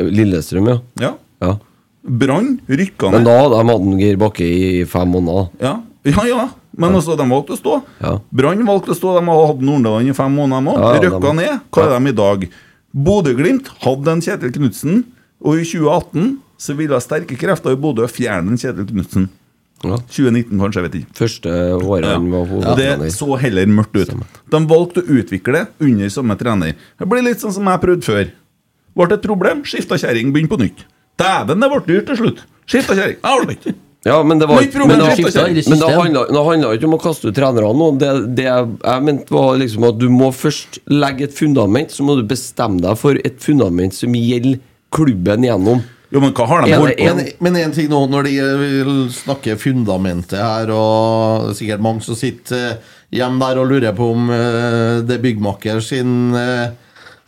Lillestrøm, ja. Ja. ja. Brann rykka Men da hadde de hatt en Geir Bakke i fem måneder. Ja, ja, ja. men altså, de valgte å stå. Ja. Brann valgte å stå, de har hatt Nordland i fem måneder. Ja, Ja, ja, Røkka de- ned. Hva er de i dag? Bodø-Glimt hadde en Kjetil Knutsen, og i 2018 så ville sterke krefter i Bodø fjerne en Kjetil Knutsen. 2019, kanskje, jeg vet ikke. Første året han var Og det hovedtrener. så heller mørkt ut. De valgte å utvikle under samme trener. Det blir litt sånn som jeg prøvde før. Ble et problem, skifta kjerring, begynn på nytt. Dæven, det ble dyrt til slutt. Skifta kjerring. Jeg har det ikke. Ja, men det var Nytt ikke problem, Men da- skiftet i det men da system. handla det handla ikke om å kaste ut trenerne nå. Det, det jeg, jeg mente var liksom at du må først legge et fundament, så må du bestemme deg for et fundament som gjelder klubben gjennom. Jo, men hva har En- en- Men én ting nå, når de eh, vil snakke fundamentet her, og det er sikkert mange som sitter eh, hjemme der og lurer på om eh, det er byggmaker sin eh,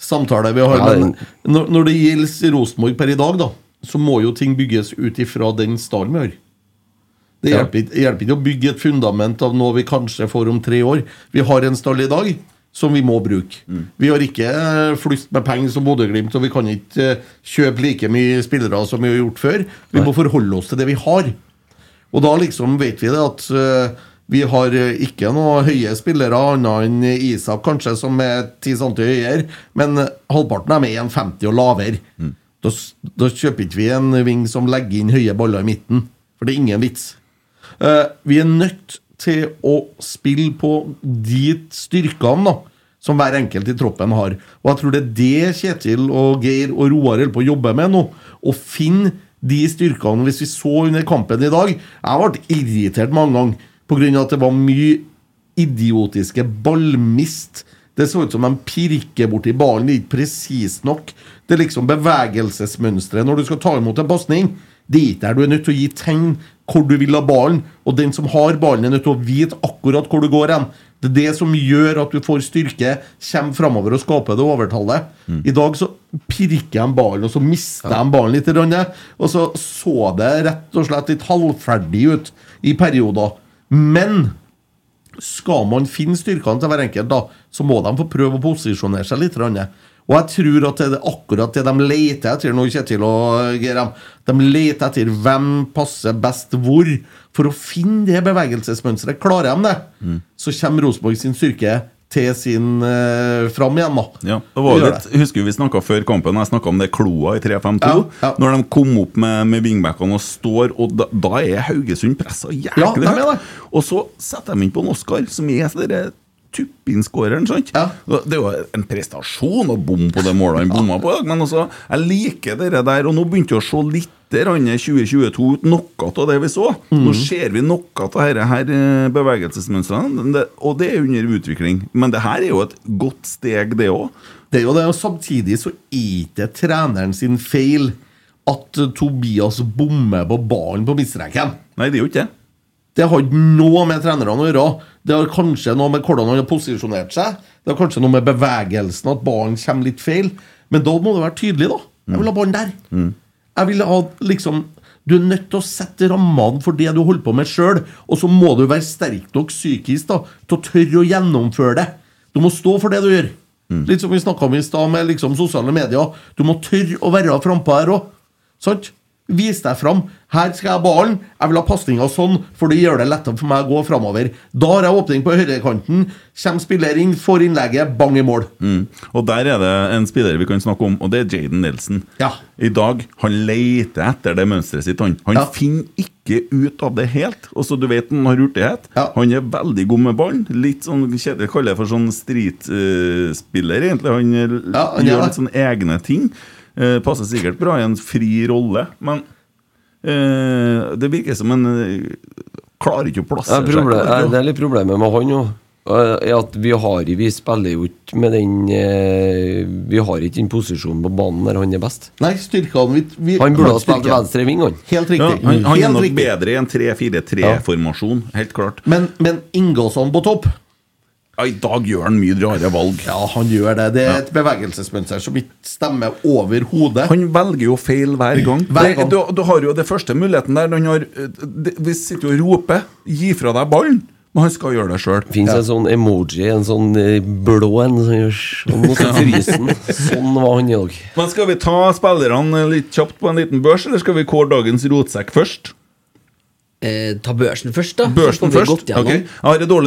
samtale vi har Ja, Men når, når det gjelder Rosenborg per i dag, da, så må jo ting bygges ut ifra den stallen vi har. Det Ja. hjelper, ikke- det hjelper ikke å bygge et fundament av noe vi kanskje får om tre år. Vi har en stall i dag som vi må bruke. Vi har ikke eh, flust med penger som Bodø-Glimt, og vi kan ikke eh, kjøpe like mye spillere som vi har gjort før. Vi må forholde oss til det vi har. Og da liksom vet vi det at eh, vi har eh, ikke noe høye spillere annet enn Isak, kanskje, som er 10 cm høyere, men eh, halvparten av dem er 1,50 og lavere. Da, s- da kjøper ikke vi en ving som legger inn høye baller i midten, for det er ingen vits. Eh, vi er nødt til å spille på de styrkene da, som hver enkelt i troppen har. Og jeg tror det er det Kjetil og Geir og Roar holder på å jobbe med nå. Å finne de styrkene. Hvis vi så under kampen i dag Jeg ble irritert mange ganger pga. at det var mye idiotiske ballmist. Det så ut som de pirker borti ballen, det er ikke presist nok. Det er liksom bevegelsesmønsteret når du skal ta imot en pasning. Det er ikke der du er nødt til å gi tegn hvor du vil ha ballen, og den som har ballen, er nødt til å vite akkurat hvor du går hen. Det er det som gjør at du får styrke, kommer framover og skaper det overtallet. I dag så pirker de ballen, og så mister de ballen litt. grann, Og så så det rett og slett litt halvferdig ut i perioder. Men skal man finne styrkene til hver enkelt, da, så må de få prøve å posisjonere seg litt. grann. Og jeg tror at det er akkurat det de leter etter nå, Kjetil og Geram. De leter etter hvem passer best hvor, for å finne det bevegelsesmønsteret. Klarer de det, Mm. så kommer Rosenborg sin styrke til sin eh, fram igjen, da. Ja, det var Vi jo gjør litt, husker vi snakka før kampen, jeg snakka om det kloa i 3-5-2. Når de kom opp med, med wingbackene og står, og da, da er Haugesund pressa jæklig Ja, de er høyt. Og så setter de inn på en Oscar, som er det tuppinskåreren, sant? Det er jo en prestasjon å bomme på det målet han bomma på, men altså, jeg liker det der, og nå begynte jeg å se litt der han eh, er 2022 ut noe av det vi så. Nå Mhm. ser vi noe av dette her eh, bevegelsesmønstrene, det- og det er under utvikling. Men det her er jo et godt steg, det òg. Det er jo det, og samtidig så er det treneren sin feil at eh, Tobias bommer på ballen på midtstreken. Nei, det er jo ikke det. Det har ikke noe med trenerne å gjøre. Det har kanskje noe med hvordan han har posisjonert seg. Det har kanskje noe med bevegelsen, at ballen kommer litt feil. Men da må det være tydelig, da. Jeg vil ha ballen der. Jeg vil ha liksom Du er nødt til å sette rammene for det du holder på med sjøl, og så må du være sterk nok psykisk da til å tørre å gjennomføre det. Du må stå for det du gjør. Litt som vi snakka om i stad, med liksom sosiale medier. Du må tørre å være frampå her òg. Sant? Vis deg fram. Her skal jeg ha ballen. Jeg vil ha pasninga sånn, for det gjør det lettere for meg å gå framover. Da har jeg åpning på høyrekanten. Kjem spiller inn, får innlegget, bang i mål. Mm. Og der er det en spiller vi kan snakke om, og det er Jaden Nelson. I dag, han leter etter det mønsteret sitt. Han, han finner ikke ut av det helt. Og så du vet han har hurtighet. Han er veldig god med ballen. Litt sånn Kjetil kaller det for sånn streetspiller, egentlig. Han, eh, Ja, han gjør gjør det. litt sånne egne ting. Eh, passer sikkert bra i en fri rolle, men eh, det virker som en eh, Klarer ikke å Det plassere er, problem, klarer ikke å- det er litt problemet med han òg. At vi, har, vi spiller jo ikke med den eh, Vi har ikke den posisjonen på banen der han er best. Nei, styrkene vi, vi Han burde ha styrke. spilt venstre ving, han. Helt riktig. Ja, han, han Helt er nok riktig. bedre i en 3-4-3-formasjon, helt klart. Men, men Ingolson på topp Ja, I dag gjør han mye rare valg. Ja, han gjør det. Det er et bevegelsesmønster som ikke stemmer overhodet. Han velger jo feil hver gang. Hver gang. Det, du, du har jo det første muligheten der. når Han har, eh, det, vi sitter jo og roper 'gi fra deg ballen', men han skal gjøre det sjøl. Fins en sånn emoji, en sånn eh, blå en, som gjør sånn, og så fryser han. Sånn var han i dag. Men skal vi ta spillerne litt kjapt på en liten børs, eller skal vi kåre dagens rotsekk først? Eh, ta børsen først, da. Børsen Så får vi først? gått gjennom. Ok. Jeg har et dårlig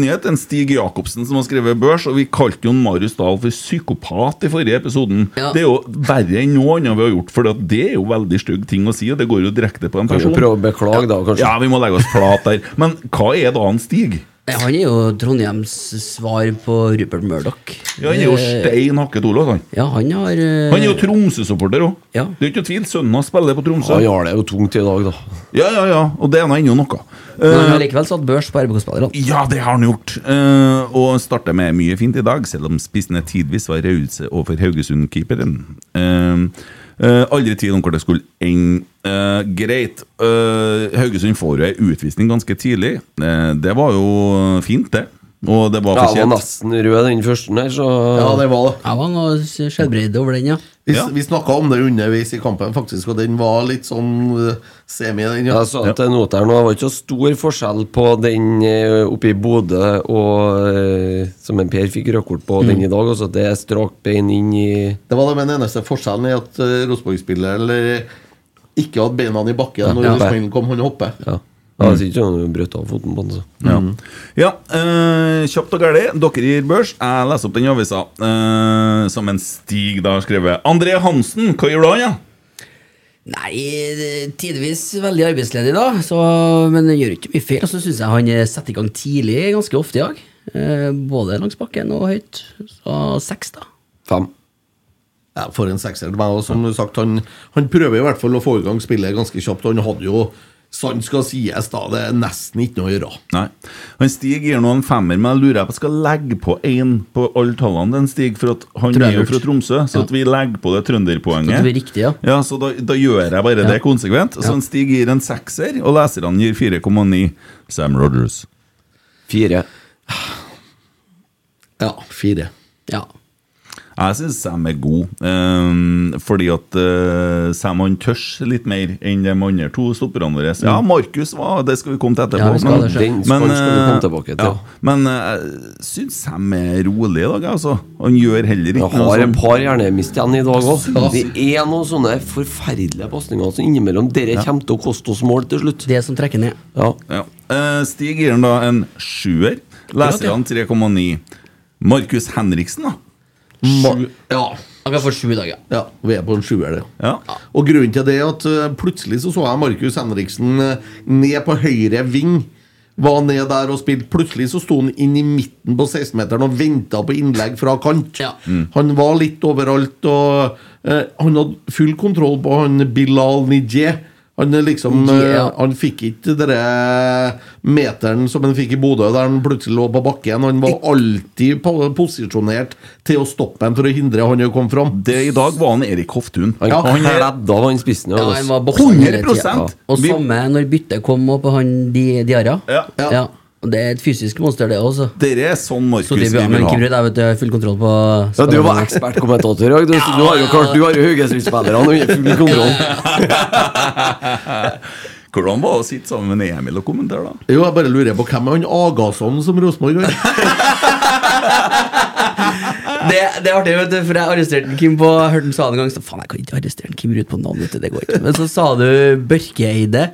nyhet enn Stig Jacobsen som har skrevet børs, og vi kalte jo Marius Dahl for psykopat i forrige episoden. Det er jo verre enn noe annet vi har gjort, for det er jo veldig stygg ting å si, og det går jo direkte på en Kan jo person. prøve å beklage, da, kanskje. Ja, vi må legge oss flat der. Men hva er da han Stig? Nei, Eh, Han er jo Trondheims svar på Rupert Murdoch. Ja, han er jo Eh, stein hakket Olav, han. Ja, han har eh, Han er jo Tromsø-supporter òg. Det er ikke noe tvil. Sønnen hans spiller på Tromsø. Han har det jo tungt i dag, da. Ja, ja, ja. Og det er nå ennå noe. Men han har Eh, likevel satt børs på RBK-spillerne. Ja, det har han gjort. Eh, og starta med mye fint i dag, selv om spissene tidvis var rause overfor Haugesund-keeperen. Eh, eh, aldri tvil om hvor det skulle ende. Eh, greit. Eh, Haugesund får jo ei utvisning ganske tidlig. Eh, det var jo fint, det. Og det var Ja, for jeg var kjent. nesten rød den første der, så Ja, det var det. Jeg var noe skjellbredd over den, ja. Vi, ja. vi snakka om det underveis i kampen, faktisk, og den var litt sånn eh, semi, den. Ja. Jeg sa til noteren og det var ikke så stor forskjell på den eh, oppe i Bodø og eh, som en Per fikk rødkort på den i dag. Altså, det er strakt bein inn i Det var det, men den eneste forskjellen er at eh, Rosenborg-spilleren eh, ikke hadde beina i bakken når Ja. smellen kom, han hopper. Ja. Jeg synes ikke han brøt av foten på den. Så. Ja, Mm. ja eh, kjapt og gærlig. Dere gir børs. Jeg leser opp den i avisa, eh, som en Stig da har skrevet. André Hansen, hva gjør du han, ja? Nei, det- tidvis veldig arbeidsledig, da. Så, men det gjør ikke mye feil. Og så syns jeg han eh, setter i gang tidlig ganske ofte i dag. Eh, Både langs bakken og høyt. Så seks, da. Fem. Ja, for en sekser. Men og som sagt, han, han prøver i hvert fall å få i gang spillet ganske kjapt. og Han hadde jo, sant skal sies, da, det er nesten ikke noe å gjøre. Nei. Han Stig gir nå en femmer, men jeg lurer jeg på skal legge på én på alle tallene. Den Stig, for at han Tror jeg er jo lurt. fra Tromsø, så at vi legger på det Så trønderpoenget. det blir riktig, ja. Ja, så da, da gjør jeg bare det konsekvent. Så en Stig gir en sekser, og leserne gir 4,9. Sam Rogers. Fire. Ja, fire. Ja. Jeg syns Sam er god, eh, fordi at eh, Sam han tør litt mer enn de andre to stopperne våre. Ja, Markus var Det skal vi komme til Mm. Ja, etterpå. vi skal det, sjef. men- Den skal- men, skal vi komme eh, tilbake til. ja, men eh, jeg syns Sam er rolig i dag, altså. Han gjør heller ikke Jeg har et sånn- par hjernemist igjen i dag òg. Det er noen sånne forferdelige pasninger som innimellom dere kommer til å koste oss mål til slutt. Det som trekker ned. Ja. Ja. Eh, Stig gir han da en sjuer. Leserne 3,9. Markus Henriksen, da? Ma- Ja. Han kan få sju i dag, ja. Ja, vi er på en sjuer, det. Ja. Og grunnen til det er at eh, plutselig så så jeg Markus Henriksen eh, ned på høyre ving. Var ned der og spilte. Plutselig så sto han inn i midten på 16-meteren og venta på innlegg fra kant. Mm. Mm. Han var litt overalt, og eh, han hadde full kontroll på han Bilal Nijeh. Han er liksom Nijeh, eh, ja. Han fikk ikke den meteren som han fikk i Bodø, der han plutselig lå på bakken. Han var alltid po- posisjonert til å stoppe ham for å hindre han å komme fram. Det I dag var han Erik Hoftun. Han kledde av han spissen. Ja, altså. han var bokser hele tiden. 100%. Og Vi- samme når byttet kom opp på han Di- Diarra. Ja. Ja. Og Det er et fysisk monster, det også. Dere er sånn Markus Så vi det blir, vil men ha. Kimrud, jeg vet du, jeg har full kontroll på Ja, du var ekspertkommentator i dag. Du, du har jo klart, du har jo Haugesund-spillerne under full kontroll. Hvordan var det å sitte sammen med Emil og kommentere, da? Jo, jeg bare lurer på hvem er han Agason som Rosenborg har? Det, det er artig, vet du, for jeg arresterte den Kim på Jeg hørte han sa det en gang. Så faen, jeg kan ikke arrestere den Kim Ruud på navn, vet du. Det går ikke. Men så sa du Børkeeide.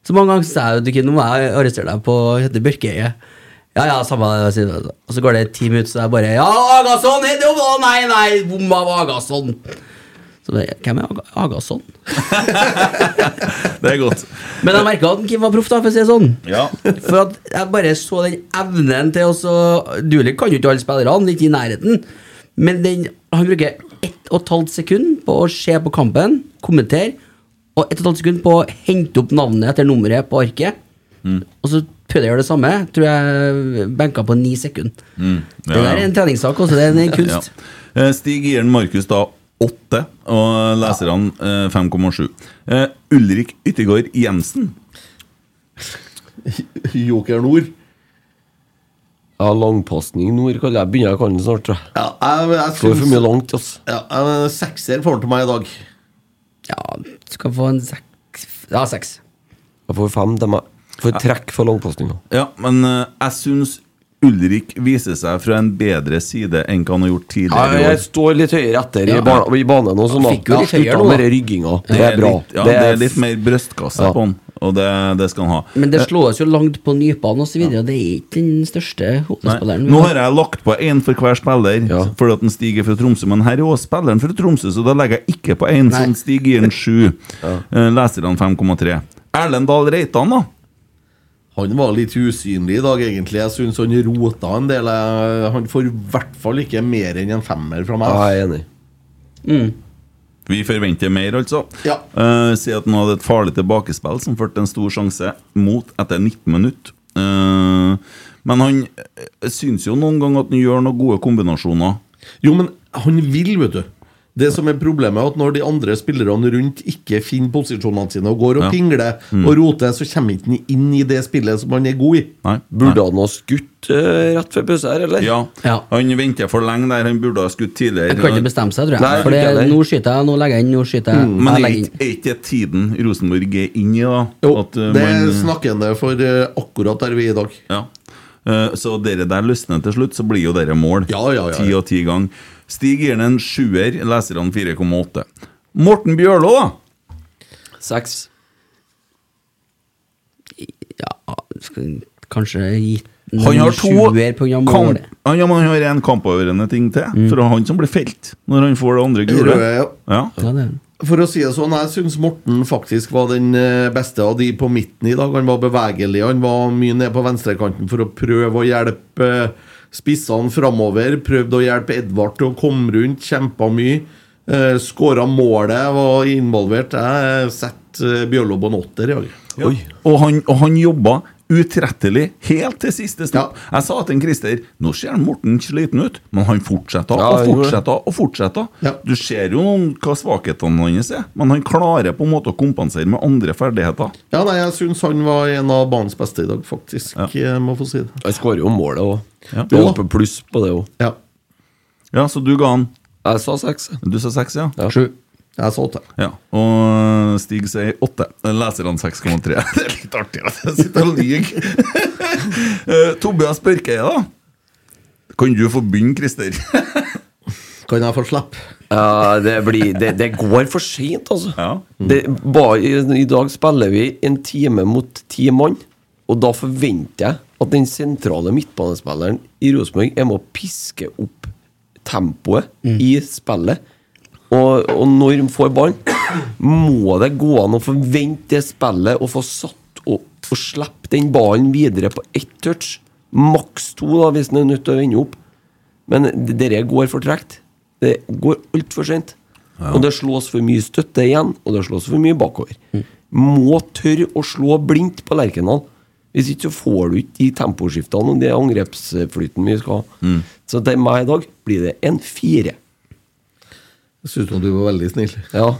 Så mange ganger så sa jeg jo Kim, nå må jeg arrestere deg på å hete Børkeeie. Ja, ja, samme det, sier du. Og så går det ti minutter, så jeg bare Ja, Agason! hei, det var- Nei, nei, bom av Agason! Så det, hvem er Aga- Agason? Det er godt. Men jeg merka at Kim var proff, da, for å si det sånn. Ja. For at jeg bare så den evnen til å så- Dulik kan jo ikke alle spillerne, ikke i nærheten. Men den, han bruker ett og et halvt sekund på å se på kampen, kommentere, og ett og et halvt sekund på å hente opp navnet etter nummeret på arket. Mm. Og så prøvde jeg å gjøre det samme. Tror jeg benka på ni sekunder. Mm, Ja, Det der er ja. en treningssak også, det er en kunst. Ja. Eh, Stig gir den Markus da åtte, og leserne eh, 5,7. Eh, Ulrik Yttergård Jensen. Joker Nord. Ja, langpasning nord kaller jeg begynner jeg å kalle den snart, tror jeg. Ja, jeg, jeg Går for mye syns langt, altså. ja, en Sekser får han til meg i dag. Ja, du skal få en seks Ja, seks. Jeg får fem til meg. For trekk for langpasninga. Ja, men eh, jeg syns Ulrik viser seg fra en bedre side enn hva han har gjort Ja, tidligere. i år. jeg står litt høyere etter i, Ja. ba i banen og sånn, da. Fikk jo litt høyere Slutta nå, da. med den rygginga. Det er bra. Litt, ja, det, er litt mer brystkasse Ja. på han, og det, det skal han ha. Men det slås jo langt på nypene osv., og det er ikke den største Nei, hodespilleren. Nå har jeg lagt på én for hver spiller, Ja. fordi at den stiger fra Tromsø. Men her er også spilleren fra Tromsø, så da legger jeg ikke på én. Nei. Sånn stiger en sju. Eh, Leserne 5,3. Erlend Dahl Reitan, da? Han var litt usynlig i dag, egentlig. Jeg syns han rota en del. Jeg- Han får i hvert fall ikke mer enn en femmer Ja, fra meg. jeg er enig. Vi forventer mer, altså. Ja. Eh, si at han hadde et farlig tilbakespill som førte til en stor sjanse mot etter 19 minutter. Eh, men han eh, syns jo noen ganger at han gjør noen gode kombinasjoner. Jo, men han vil, vet du. Det som er problemet, er at når de andre spillerne rundt ikke finner posisjonene sine og går og Ja. pingler Mm. og roter, så kommer ikke han inn i det spillet som han er god i. Burde han ha skutt eh, rett før pause her, eller? Ja. Han venter for lenge der, han burde ha skutt tidligere. Jeg kan ikke bestemme seg, tror jeg. Nei, for ikke det, heller. nå skyter jeg, nå legger jeg inn, nå skyter jeg. Men jeg er legger inn. ikke- er ikke det tiden Rosenborg er inne i, da? At, eh, det man- er snakkende for eh, akkurat der vi er i dag. Ja. Eh, Så dere der løsner til slutt, så blir jo dere mål. ja. Ti og ti gang. Stig gir den en sjuer, leserne 4,8. Morten Bjørlo, da? Seks. Ah, Skal Kanskje gitt den Han har to sjuer på grunn av kamp, målet. han, ja, men han har en kampavgjørende ting til. Mm. For det er han som blir felt når han får det andre gule. Røde, ja. Ja, det er det. For å si det sånn, jeg syns Morten faktisk var den eh, beste av de på midten i dag. Han var bevegelig, han var mye ned på venstrekanten for å prøve å hjelpe eh, spissene framover. Prøvde å hjelpe Edvard til å komme rundt, kjempa mye. Uh, Skåra målet, var involvert. Jeg setter eh, Bjørlo på en åtter i dag. Ja. Og, han, og han jobba utrettelig helt til siste stopp. Jeg sa til en Christer nå ser Morten sliten ut, men han fortsetter Ja, han og gjorde det. fortsetter og fortsetter. Du ser jo noen, hva svakhetene hans er, men han klarer på en måte å kompensere med andre ferdigheter. Ja, nei, jeg syns han var en av banens beste i dag, faktisk. Jeg må få si det. Han skårer jo målet òg. Ja. Det er jo på pluss på det òg. Ja. Ja, så du ga han Jeg sa seks. Du sa seks, ja? Sju. Jeg sa åtte. Ja, Og Stig sier åtte. Leserne 6,3. Det er litt artig at jeg sitter og lyver. Eh, Tobias Børkeie, da? Kan du få begynne, Christer? kan jeg få slippe? Ja, det, blir, det, det går for sent, altså. Det, bare, i, I dag spiller vi en time mot ti mann, og da forventer jeg at den sentrale midtbanespilleren i Rosenborg er med å piske opp tempoet i spillet. Og, og når de får ballen, må det gå an å forvente det spillet og få satt opp og slippe den ballen videre på ett touch. Maks to, da, hvis den er nødt til å ende opp. Men det dere går for tregt. Det går altfor sent. Og det slås for mye støtte igjen, og det slås for mye bakover. Må tørre å slå blindt på Lerkendal. Hvis ikke så får du ikke de temposkiftene og de angrepsflyten vi skal ha. Så til meg i dag blir det en fire. Jeg syns du var veldig snill. Ja,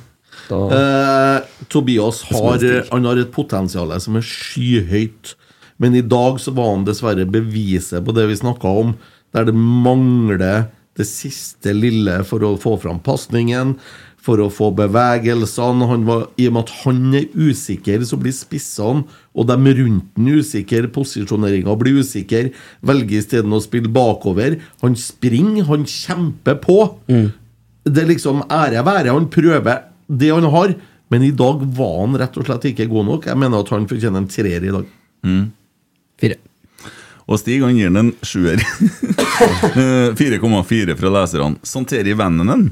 da... Eh, Tobias har, Småstikk. han har et potensial som er skyhøyt. Men i dag så var han dessverre beviset på det vi snakka om, der det mangler det siste lille for å få fram pasningen, for å få bevegelsene. Han var, I og med at han er usikker, så blir spissene og dem rundt den usikre. Posisjoneringa blir usikker. Velger isteden å spille bakover. Han springer, han kjemper på. Det er liksom ære være. Han prøver det han har, men i dag var han rett og slett ikke god nok. Jeg mener at han fortjener en treer i dag. Fire. Og Stig han gir den en sjuer. Eh, 4,4 fra leserne. Sånn Santeri Vennenen.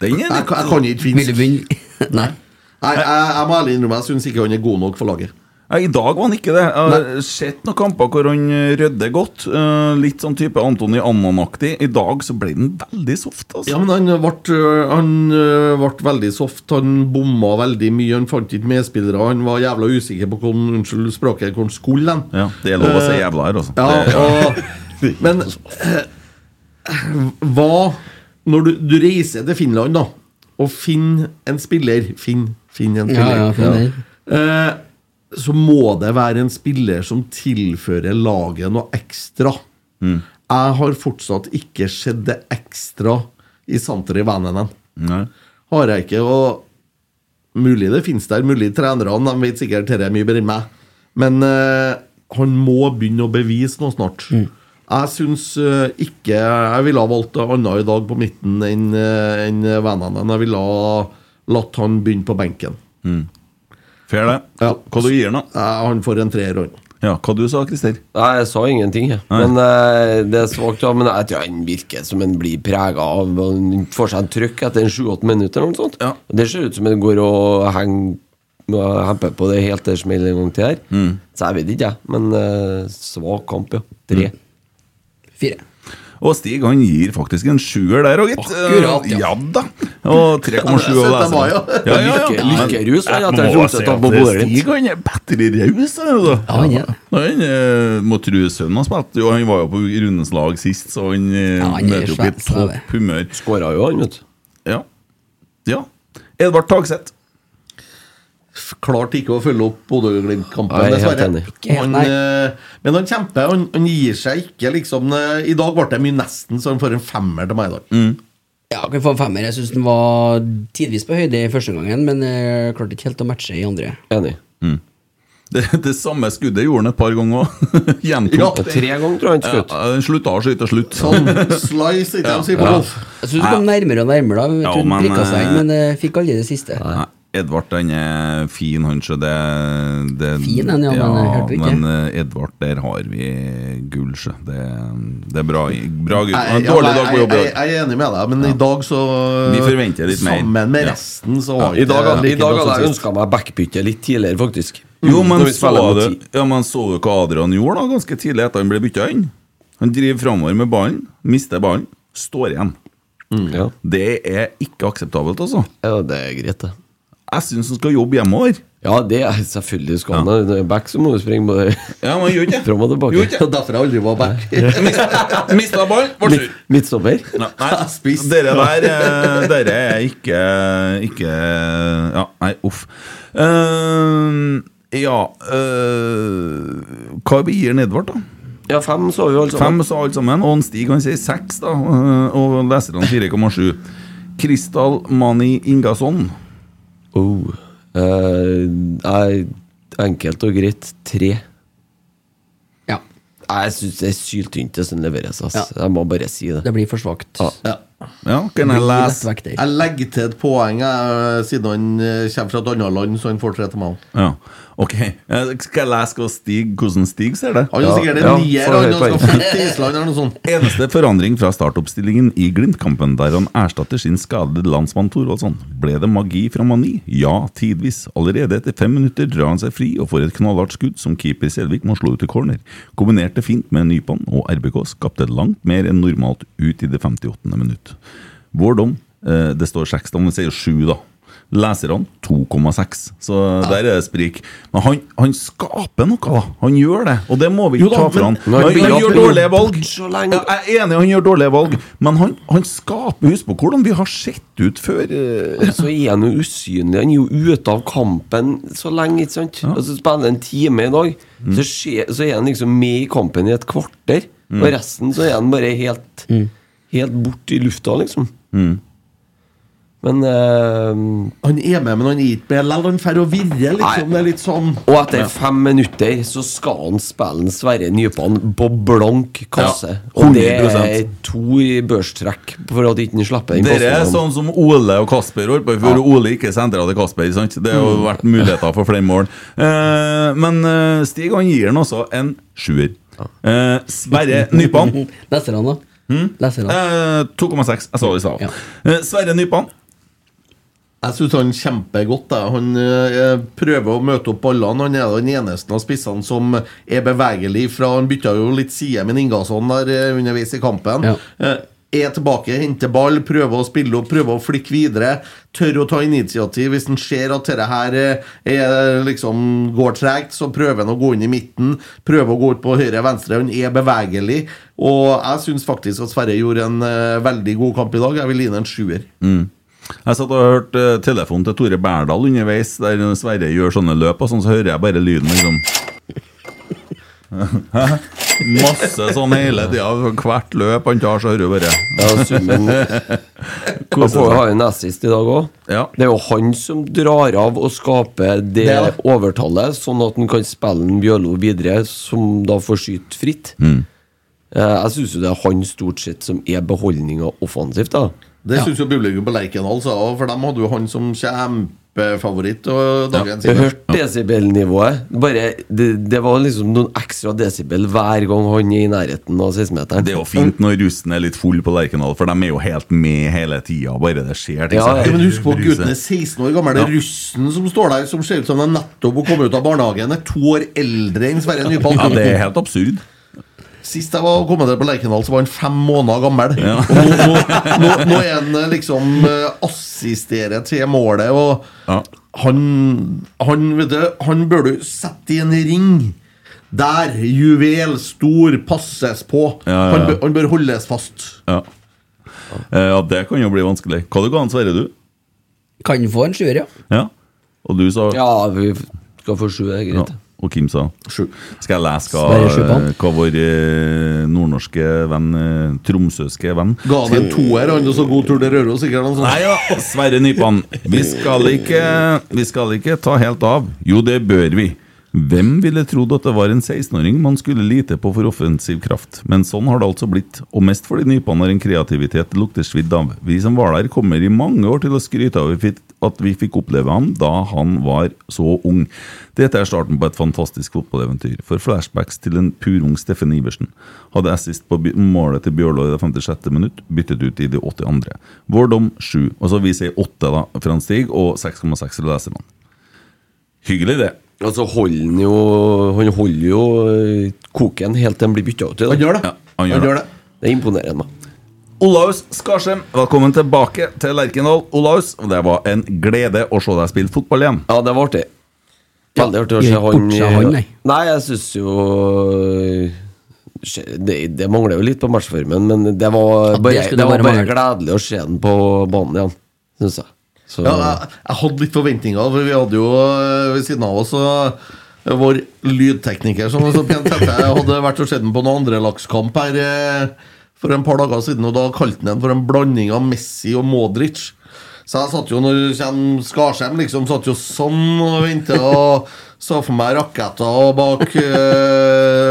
Den er Jeg, litt kan- jeg kan ikke finsk. Nei. Nei, jeg, jeg må ærlig innrømme, jeg syns ikke han er god nok for laget. Nei, I dag var han ikke det. Jeg har sett noen kamper hvor han eh, rydder godt. eh, Litt sånn type Antony Annan-aktig. I dag så ble den veldig soft. altså. Ja, men han ble, han øh, ble veldig soft. Han bomma veldig mye. Han fant ikke medspillere. Han var jævla usikker på hvor han- unnskyld språket, hvor han skulle hen. Ja, det er lov å si Eh, jævla her, altså. Det- Ja, og, men eh, hva Når du, du reiser til Finland, da, og finner en spiller Finn, finn en Ja, spiller. ja, finn Eh, så må det være en spiller som tilfører laget noe ekstra. Mm. Jeg har fortsatt ikke sett det ekstra i Santer i Vänänen. Har jeg ikke. og Mulig det finnes der, mulig trenerne de vet sikkert dette er mye bedre enn meg. Men eh, han må begynne å bevise noe snart. Mm. Jeg syns eh, ikke Jeg ville ha valgt annet i dag på midten enn uh, en Vananen. Jeg ville ha latt han begynne på benken. Eh, Fair, det. Hva du gir han, da? han får en treer. han. Ja, hva du sa Christer? Nei, jeg sa ingenting, jeg. Nei. Men eh, det er svakt, ja. Men jeg tror han virker som han blir prega av Han får seg en trøkk etter en sju-åtte minutter eller noe sånt. Det ser ut som han går og henger og hemper på det helt til det smeller en gang til her. Så jeg vet ikke, jeg. Men eh, svak kamp, ja. Tre. Fire. Og Stig han gir faktisk en sjuer der òg, gitt. Akkurat, ja. da. Og 3,7 av Ja, det er 17. mai, leserne. ja. Lykke- lykkerus, Men han, at jeg jeg må fortsatt si tar at på bordet litt. Stig han er bedre raus, han er da. Ja, han er det. Han eh, må tro sønnen har spilt. Jo, han var jo på rundens lag sist, så han eh, Ja, han er møter opp i svær, svær. topp humør. Skåra jo, han, vet du. Ja. ja. Edvard Tagseth. Klart ikke å følge opp Bodø-Glimt-kampen, Nei, jeg er helt dessverre. enig. Ikke helt, Han, nei. eh, Men han kjemper, han, han gir seg ikke, liksom. eh, I dag ble det mye nesten, så han får en femmer til meg i dag. Ja, kan få en femmer. Jeg syns den var tidvis på høyde i første gangen, men eh, klarte ikke helt å matche i andre. Enig. Det, det samme skuddet gjorde han et par ganger òg. Ja, tre Sånn. ganger tror jeg han skjøt. Ja, han slutta å skyte slutt. Slice, ikke de sier på Ja. golf. Jeg syns du kom nærmere og nærmere, da. Ja, Jeg tror den men, prikka seg, eh, men eh, fikk aldri det siste. Nei. Edvard den er fin, han så det, det Fin, han, ja, men hørte vi ikke. men, eh, Edvard, der har vi gull, så det, det er bra, bra gutt. Jeg, En dårlig dag på jobb. i dag. jeg, jeg er enig med deg, men i dag så Vi forventer litt mer. Sammen med Ja. resten så Ja, var I dag, ikke hadde- like i dag bra som hadde jeg sist. ønska meg backbytte litt tidligere, faktisk. Mm. Jo, men Når vi så, spiller mot du, ti. ja, men så du hva Adrian gjorde da, ganske tidlig etter han ble bytta inn? Han driver framover med ballen, mister ballen, står igjen. Det er ikke akseptabelt, altså. Ja, det er greit, det. Jeg syns han skal jobbe hjemover. Ja, det er selvfølgelig skal han det. Back så må du springe både Ja, men han gjør ikke det. fram og tilbake. Gjør ikke det. Derfor jeg aldri var back. Mista ballen, ble sur. Midt- Midtstopper. Nei, nei dere der eh, Dere er ikke Ikke Ja, nei, uff. Eh, ja eh, Hva vi gir Edvard, da? Ja, fem så vi jo altså. alle Sånn. sammen. Fem sa alle sammen, og en Stig han sier seks, da. eh, Og leserne 4,7. Kristal Mani Ingasson. Oh. Eh, nei, enkelt og greit tre. Ja. Jeg syns det er syltynt, det som leveres. ass. Jeg må bare si det. Det blir for svakt. Ja. Ja, kan jeg lese? Jeg Jeg legger til et poeng jeg, siden han eh, kommer fra et annet land, så han får tre til meg også. Ja, ok Eh, Skal jeg lese hva Stig, hvordan Stig ser det? Han er sikkert en ja, nier, får han jeg han skal poeng. flytte til Island eller noe sånt. Eneste forandring fra startoppstillingen i Glimt-kampen, der han erstatter sin skadede landsmann Thorvaldsson, ble det magi fra Mani? Ja, tidvis. Allerede etter fem minutter drar han seg fri og får et knallhardt skudd som keeper Selvik må slå ut i corner. Kombinerte fint med Nypan, og RBK skapte langt mer enn normalt ut i det 58. minutt. Vår dom, eh, det står seks, da, men vi sier sju, da. Leserne 2,6, så der er det sprik. Men han, han skaper noe, da. Han gjør det, og det må vi Jo ikke da, ta fra han. men- Men Han, han gjør dårlige valg. Så lenge. Ja, Jeg er enig, han gjør dårlige valg, men han, han skaper Husk på hvordan vi har sett ut før. eh, Og Så er han jo usynlig. Han er jo ute av kampen så lenge. ikke sant? Og så spiller han en time i dag, Mm. så, skje- så er han liksom med i kampen i et kvarter. Mm. Og resten så er han bare helt, helt bort i lufta, liksom. Mm. Men eh, Han er med, men han er ikke med likevel. Han drar og virrer, Nei. liksom. Det er litt sånn Og etter fem minutter så skal han spille en Sverre Nypan på blank kasse. Ja, og det er 100%. to i børstrekk for at ikke han slipper inn Dere er passen. sånn som Ole og Kasper holdt på i fjor. og Ole ikke sentra til Kasper. sant? Det har jo vært muligheter for flere mål. Eh, men eh, Stig han gir han altså en sjuer. Eh, Sverre Nypan Leser han, da? Hmm? Leser han. eh, 2,6. Jeg sa det i stad. Ja. Eh, Sverre Nypan Jeg syns han kjemper godt. Jeg. Han eh, prøver å møte opp ballene. Han er den eneste av spissene som er bevegelig fra Han bytta jo litt side med Ingasson der eh, underveis i kampen. Ja. Eh, er tilbake, henter ball, prøver å spille opp, prøver å flikke videre. Tør å ta initiativ. Hvis han ser at dette her eh, er, liksom, går tregt, så prøver han å gå inn i midten. Prøver å gå ut på høyre-venstre. Han er bevegelig. Og jeg syns faktisk at Sverre gjorde en eh, veldig god kamp i dag. Jeg vil gi ham en sjuer. Jeg satt og hørte eh, telefonen til Tore Berdal underveis, der Sverre gjør sånne løp, og sånn så hører jeg bare lyden liksom Hæ? Masse sånn hele tida. Hvert løp han tar, så hører du bare Ja, summen Han får jo ha en assist i dag òg. Ja. Det er jo han som drar av og skaper det, Det, ja. overtallet, sånn at han kan spille en Bjørlo videre, som da får skyte fritt. Eh, Jeg syns jo det er han stort sett som er beholdninga offensivt, da. Det synes syns jo publikum på Lerkendal sa òg, for de hadde jo han som kjempefavoritt. Og Jeg dagen siden. hørte desibelnivået. Bare, det, det var liksom noen ekstra desibel hver gang han er i nærheten av 16-meteren. Det er jo fint når russen er litt full på Lerkendal, for de er jo helt med hele tida, bare det skjer. ting Ja, som- ja. Ja, men husk på at gutten er 16 år gammel. Det er Ja. russen som står der, som ser ut som han nettopp har kommet ut av barnehagen. Er to år eldre enn Sverre Nypan. Ja, det er helt absurd. Sist jeg var og kommenterte på Lerkendal, så var han fem måneder gammel. Og nå, nå, nå, nå er han eh, liksom eh, assisterer til målet, og han, han, vet du, han bør du sette i en ring. Der! Juvel, stor, passes på. Ja, ja, Han, ja. bør, han bør holdes fast. Ja. Eh, ja, det kan jo bli vanskelig. Hva du ga han Sverre, du? Eh. Kan få en sjuer, ja. Ja. Og du sa Ja, vi skal få sju, det er greit. Og Kim sa Skal jeg lese Sverre hva, Sjupan. hva vår eh, nordnorske venn, eh, tromsøske venn Ga han en toer, han, og så god tur til Røros, sikkert? eller noe sånt. Nei ja, Sverre Nypan. Vi skal, ikke, vi skal ikke ta helt av. Jo, det bør vi. Hvem ville trodd at det var en 16-åring man skulle lite på for offensiv kraft? Men sånn har det altså blitt, og mest fordi Nypan har en kreativitet det lukter svidd av. Vi som var der, kommer i mange år til å skryte av at vi fikk oppleve ham da han var så ung. Dette er starten på et fantastisk fotballeventyr, for flashbacks til en purung Steffen Iversen. Hadde assist på by- målet til Bjørlo i det 56. minutt, byttet ut i det 82. Vår dom 7. Og så vi sier 8 da, for han Stig, og 6,6 til lesermann. Hyggelig, det. Altså, holder han jo Han holder jo eh, koken helt til han blir bytta ut. Han gjør det. han gjør det. Det er imponerende. da. Olaus Skarsheim, velkommen tilbake til Lerkendal. Olaus, det var en glede å se deg spille fotball igjen. Ja, det var artig. Veldig artig å Jeg se er ikke han, han, nei. Nei, jeg syns jo skje- det, det mangler jo litt på matchformen, men det var det bare, det skulle det var bare bare mangle. gledelig å se han på banen igjen, syns jeg. Så, Ja, jeg, jeg hadde litt forventninger, for vi hadde jo øh, ved siden av oss øh, vår lydtekniker som var så pent hette. Jeg hadde vært og sett den på noen andre lakskamp her øh, for en par dager siden, og da kalte han den for en blanding av Messi og Modric. Så jeg satt jo når kjem Skarsheim, liksom, satt jo sånn og ventet og så for meg raketter bak øh,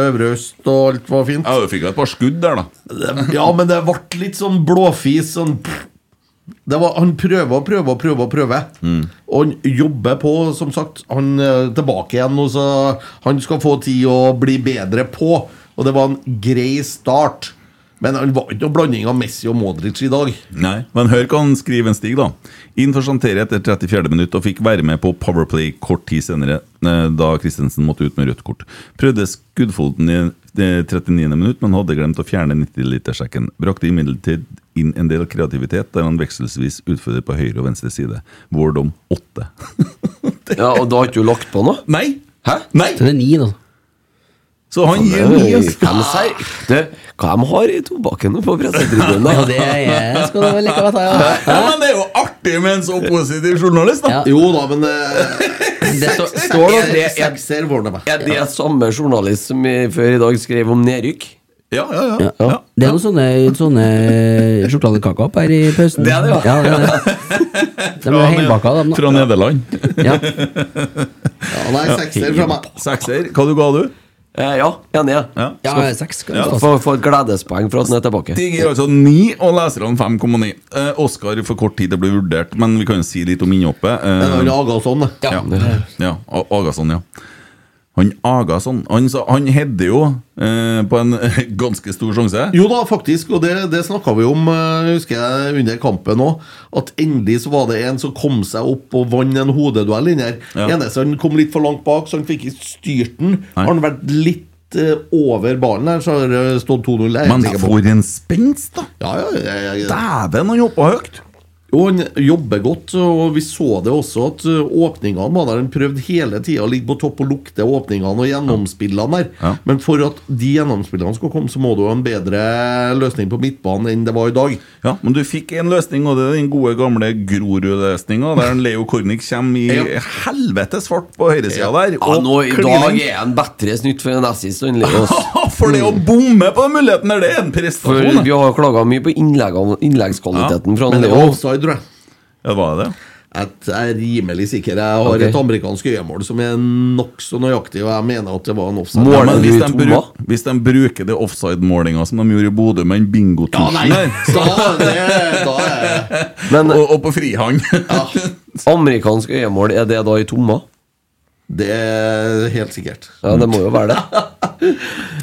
Øvre Øst, og alt var fint. Ja, du fikk jo et par skudd der, da. Ja, men det ble litt sånn blåfis. Sånn det var, han prøver og prøver og prøver og prøver. Og han jobber på, som sagt. Han er tilbake igjen, og så han skal få tid å bli bedre på. Og det var en grei start. Men han var ikke noen blanding av Messi og Modric i dag. Nei, men hør hva han skriver en stig da Inn for Santere etter 34 minutt Og fikk være med på Powerplay kort tid senere eh, Da Kristensen måtte ut med rødt kort Prøvde skuddfolden i eh, 39. minutt Men hadde glemt å fjerne 90-litersjekken Brakte imidlertid inn en del kreativitet Der han vekselvis utfører på høyre og venstre side Vår dom 8 ja, og da har ikke du lagt på noe? Nei! Hæ? Nei! Det er ni, da. Så han Faen, gir det er ni, jo ass. fem seier. Det, hva de har i tobakken nå på pressetribunen? da? Ja, det er- skal du vel like godt ha, ja. Ja, men det er jo artig med en så positiv journalist da Jo da, men eh, Det står, står da- er, får det meg. er det samme journalist som i, før i dag skrev om nedrykk? Ja, ja, ja. Det er noen sånne, sånne sjokoladekaker opp her i pausen. Det er det, ja. ja. det, er det. De er heimbaka, de. da. Fra Nederland Ja. nei, sekser fra meg. Sekser, hva du ga du? Eh, ja, enig. Ja. Ja, Skal- seks skal ja. det Få, få et gledespoeng for at den er tilbake. De gir altså 9, og leserne 5,9. Eh, Oscar for kort tid det ble vurdert, men vi kan jo si litt om innhoppet. Men Eh, han aga sånn, det. ja. ja, A- Agason, ja. Han Agason Han, sa- han hedde jo eh, på en ganske stor sjanse. Jo da, faktisk, og det, det snakka vi om eh, husker jeg under kampen òg. At endelig så var det en som kom seg opp og vant en hodeduell inni her. Ja. Eneste han kom litt for langt bak, så han fikk ikke styrt den. Har han vært litt eh, over ballen her, så har det stått 2-0. jeg er Men sikker på. for en spenst, da! Ja, ja, ja, ja, ja. Dæven, han hoppa høyt! Jo, han jobber godt, og vi så det også at ø, åpningene var der. Han prøvde hele tida å ligge på topp og lukte åpningene og gjennomspillene der. Ja. Men for at de gjennomspillene skulle komme, så må du ha en bedre løsning på midtbanen enn det var i dag. Ja, Men du fikk en løsning, og det er den gode gamle Grorud-løsninga, der en Leo Kornic kommer i Ja. helvete svart på høyresida der. Ja, nå, I dag klinen- er han bedre snytt for en assist enn Leos. For det å Mm. bomme på den muligheten der, det er en For prestasjon! vi har klaga mye på innleggene- innleggskvaliteten fra Men det Leo. var offside, tror jeg. Ja, var det det? At jeg er rimelig sikker. Jeg har Ok. et amerikansk øyemål som er nokså nøyaktig, og jeg mener at det var en offside. Ja, men hvis, de bruk, hvis de bruker det offside-målinga som de gjorde i Bodø med den bingotusjen Ja, nei. der Da- det- da Men, og, og på frihånd. Amerikansk øyemål, er det da i tomma? Det er helt sikkert. Ja, det må jo være det.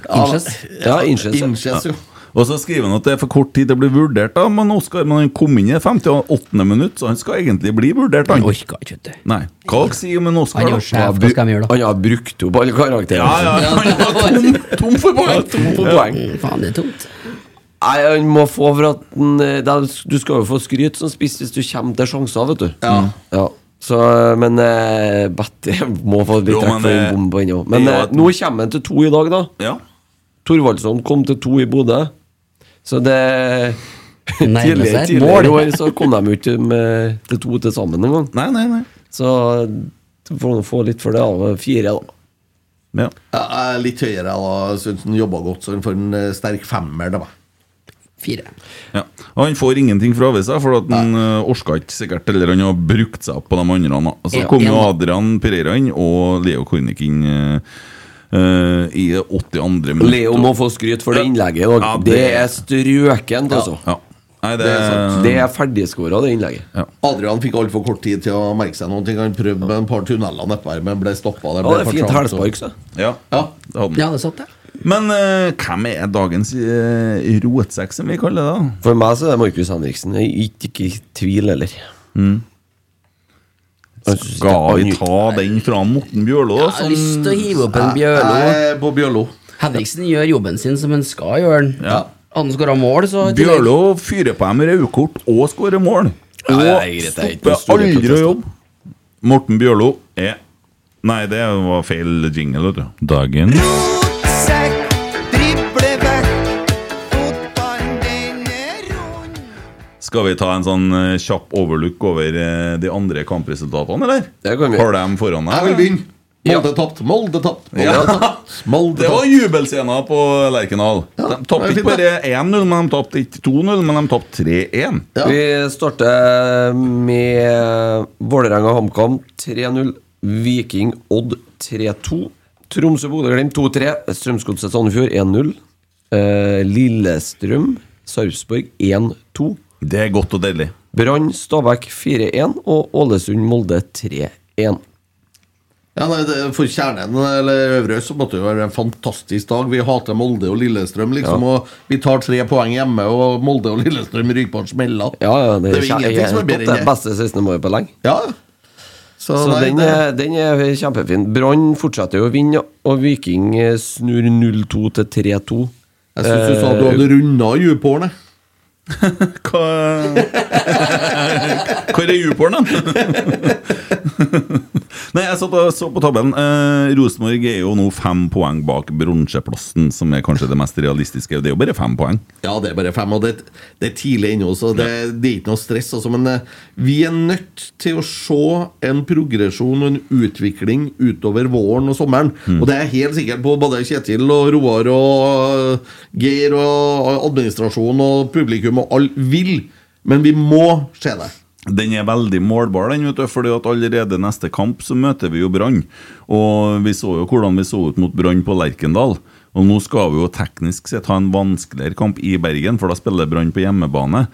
Ja, Inches. Ja, inches. Inches, jo. Og så skriver han at det er for kort tid til å bli vurdert, da, men Oskar men han kom inn i det 58. minutt, så han skal egentlig bli vurdert. Han orka ikke, vet Nei. Hva dere sier om en Oskar? Han er jo sjef, hva skal de gjøre da? Han har brukt opp alle karakterene. Ja, ja, han var tom, tom for poeng! Tom for poeng. Faen, det er tomt. Nei, han må få for at den, eh, det er- Du skal jo få skryt som spiss hvis du kommer til sjanser, vet du. Ja. ja. Så, eh, men eh, Betty må få litt Jo, trekk men for det- en bom på henne også. Men det er eh, jo et- nå kommer han til to i dag, da. Ja. Thorvaldsson kom til to i Bodø. Så det Nærmer Tidligere seg et tidligere i mål. år så kom de jo ikke med, til to til sammen engang. Nei, nei, nei. Så du får nå få litt for det av fire, da. Ja. Jeg er litt høyere, jeg da. Syns han jobba godt, så han får en eh, sterk femmer til meg. Fire. Ja. Og han får ingenting fra seg, for at han eh, orka ikke sikkert, eller han har brukt seg opp på de andre. han har. Så Ja. kom jo Ja. Adrian Pereira inn, og Leo Kornic inn eh, eh, i det 82. minutt. Leo må få skryt for det innlegget i dag. Ja, det- det... er strøkent, altså. Ja. Nei, det, Det er sant. Det er ferdigskåra, det innlegget. Adrian fikk altfor kort tid til å merke seg noen ting. Han prøvde med en par tunneler nedpå her, men ble stoppa. Ja, det er fint hælspark, så. Ja, det hadde han. Ja, det satt der. Men eh, hvem er dagens uh, rotsekk, som vi kaller det? da? For meg så er det Markus Henriksen. Jeg er ikke- ikke i tvil heller. Jeg Mm. synes Skal det- vi ta den fra Morten Bjørlo? Jeg har lyst sånn- til å hive opp en Bjørlo. Nei, på Bjørlo. Henriksen gjør jobben sin som han skal gjøre den. Ja. Han skåra mål, så Bjørlo fyrer på dem rødkort og skårer mål. Ja, Og det er greit, det er ikke noen stopper store aldri å protester. jobbe. Morten Bjørlo er Nei, det var feil jingle. vet du. Dagen Skal vi ta en sånn eh, kjapp overlook over eh, de andre kampresultatene, eller? Det kan vi. Har dem foran Jeg vil deg? vinne! Molde tapt, Molde tapt, Molde Ja. tapt. Molde Det var tapt. jubelscener på Lerkendal. De tapte det er ikke fint, bare 1-0, men de tapte ikke 2-0, men de tapte 3-1. Ja. Vi starter med Vålerenga-HamKam 3-0. Viking-Odd 3-2. Tromsø-Bodø-Glimt 2-3. Strømsgodset-Sandefjord 1-0. Eh, Lillestrøm Sarpsborg 1-2. Det er godt og deilig. Brann Stabæk 4-1 og Ålesund-Molde 3-1. Ja, nei, det, for kjernen eller Øvre Øst så måtte det jo være en fantastisk dag. Vi hater Molde og Lillestrøm, liksom. Og vi tar tre poeng hjemme, og Molde og Lillestrøm ryker på en smella. Ja, ja, det, Det er jo ingenting kjæ- som er bedre enn topp, det. det beste 16. mai på lenge. Ja. Så, Så nei, den, det, er, den er kjempefin. Brann fortsetter jo å vinne, og Viking eh, snur 0-2 til 3-2. jeg syns du sa eh, du hadde runda djuphårene. Hva Hvor er juporn, da? Nei, jeg satt og så på tabellen. Eh, Rosenborg er jo nå fem poeng bak bronseplassen, som er kanskje det mest realistiske. Det er jo bare fem poeng. Ja, det er bare fem, og det, det er tidlig ennå, så det, det er ikke noe stress. Altså, men eh, vi er nødt til å se en progresjon og en utvikling utover våren og sommeren. Og det er jeg helt sikker på både Kjetil og Roar og eh, Geir og administrasjonen og publikum og alle vil. Men vi må se det. Den er veldig målbar, den, vet du, fordi at allerede neste kamp så møter vi jo Brann. Og vi så jo hvordan vi så ut mot Brann på Lerkendal. Og nå skal vi jo teknisk sett ha en vanskeligere kamp i Bergen, for da spiller Brann på hjemmebane.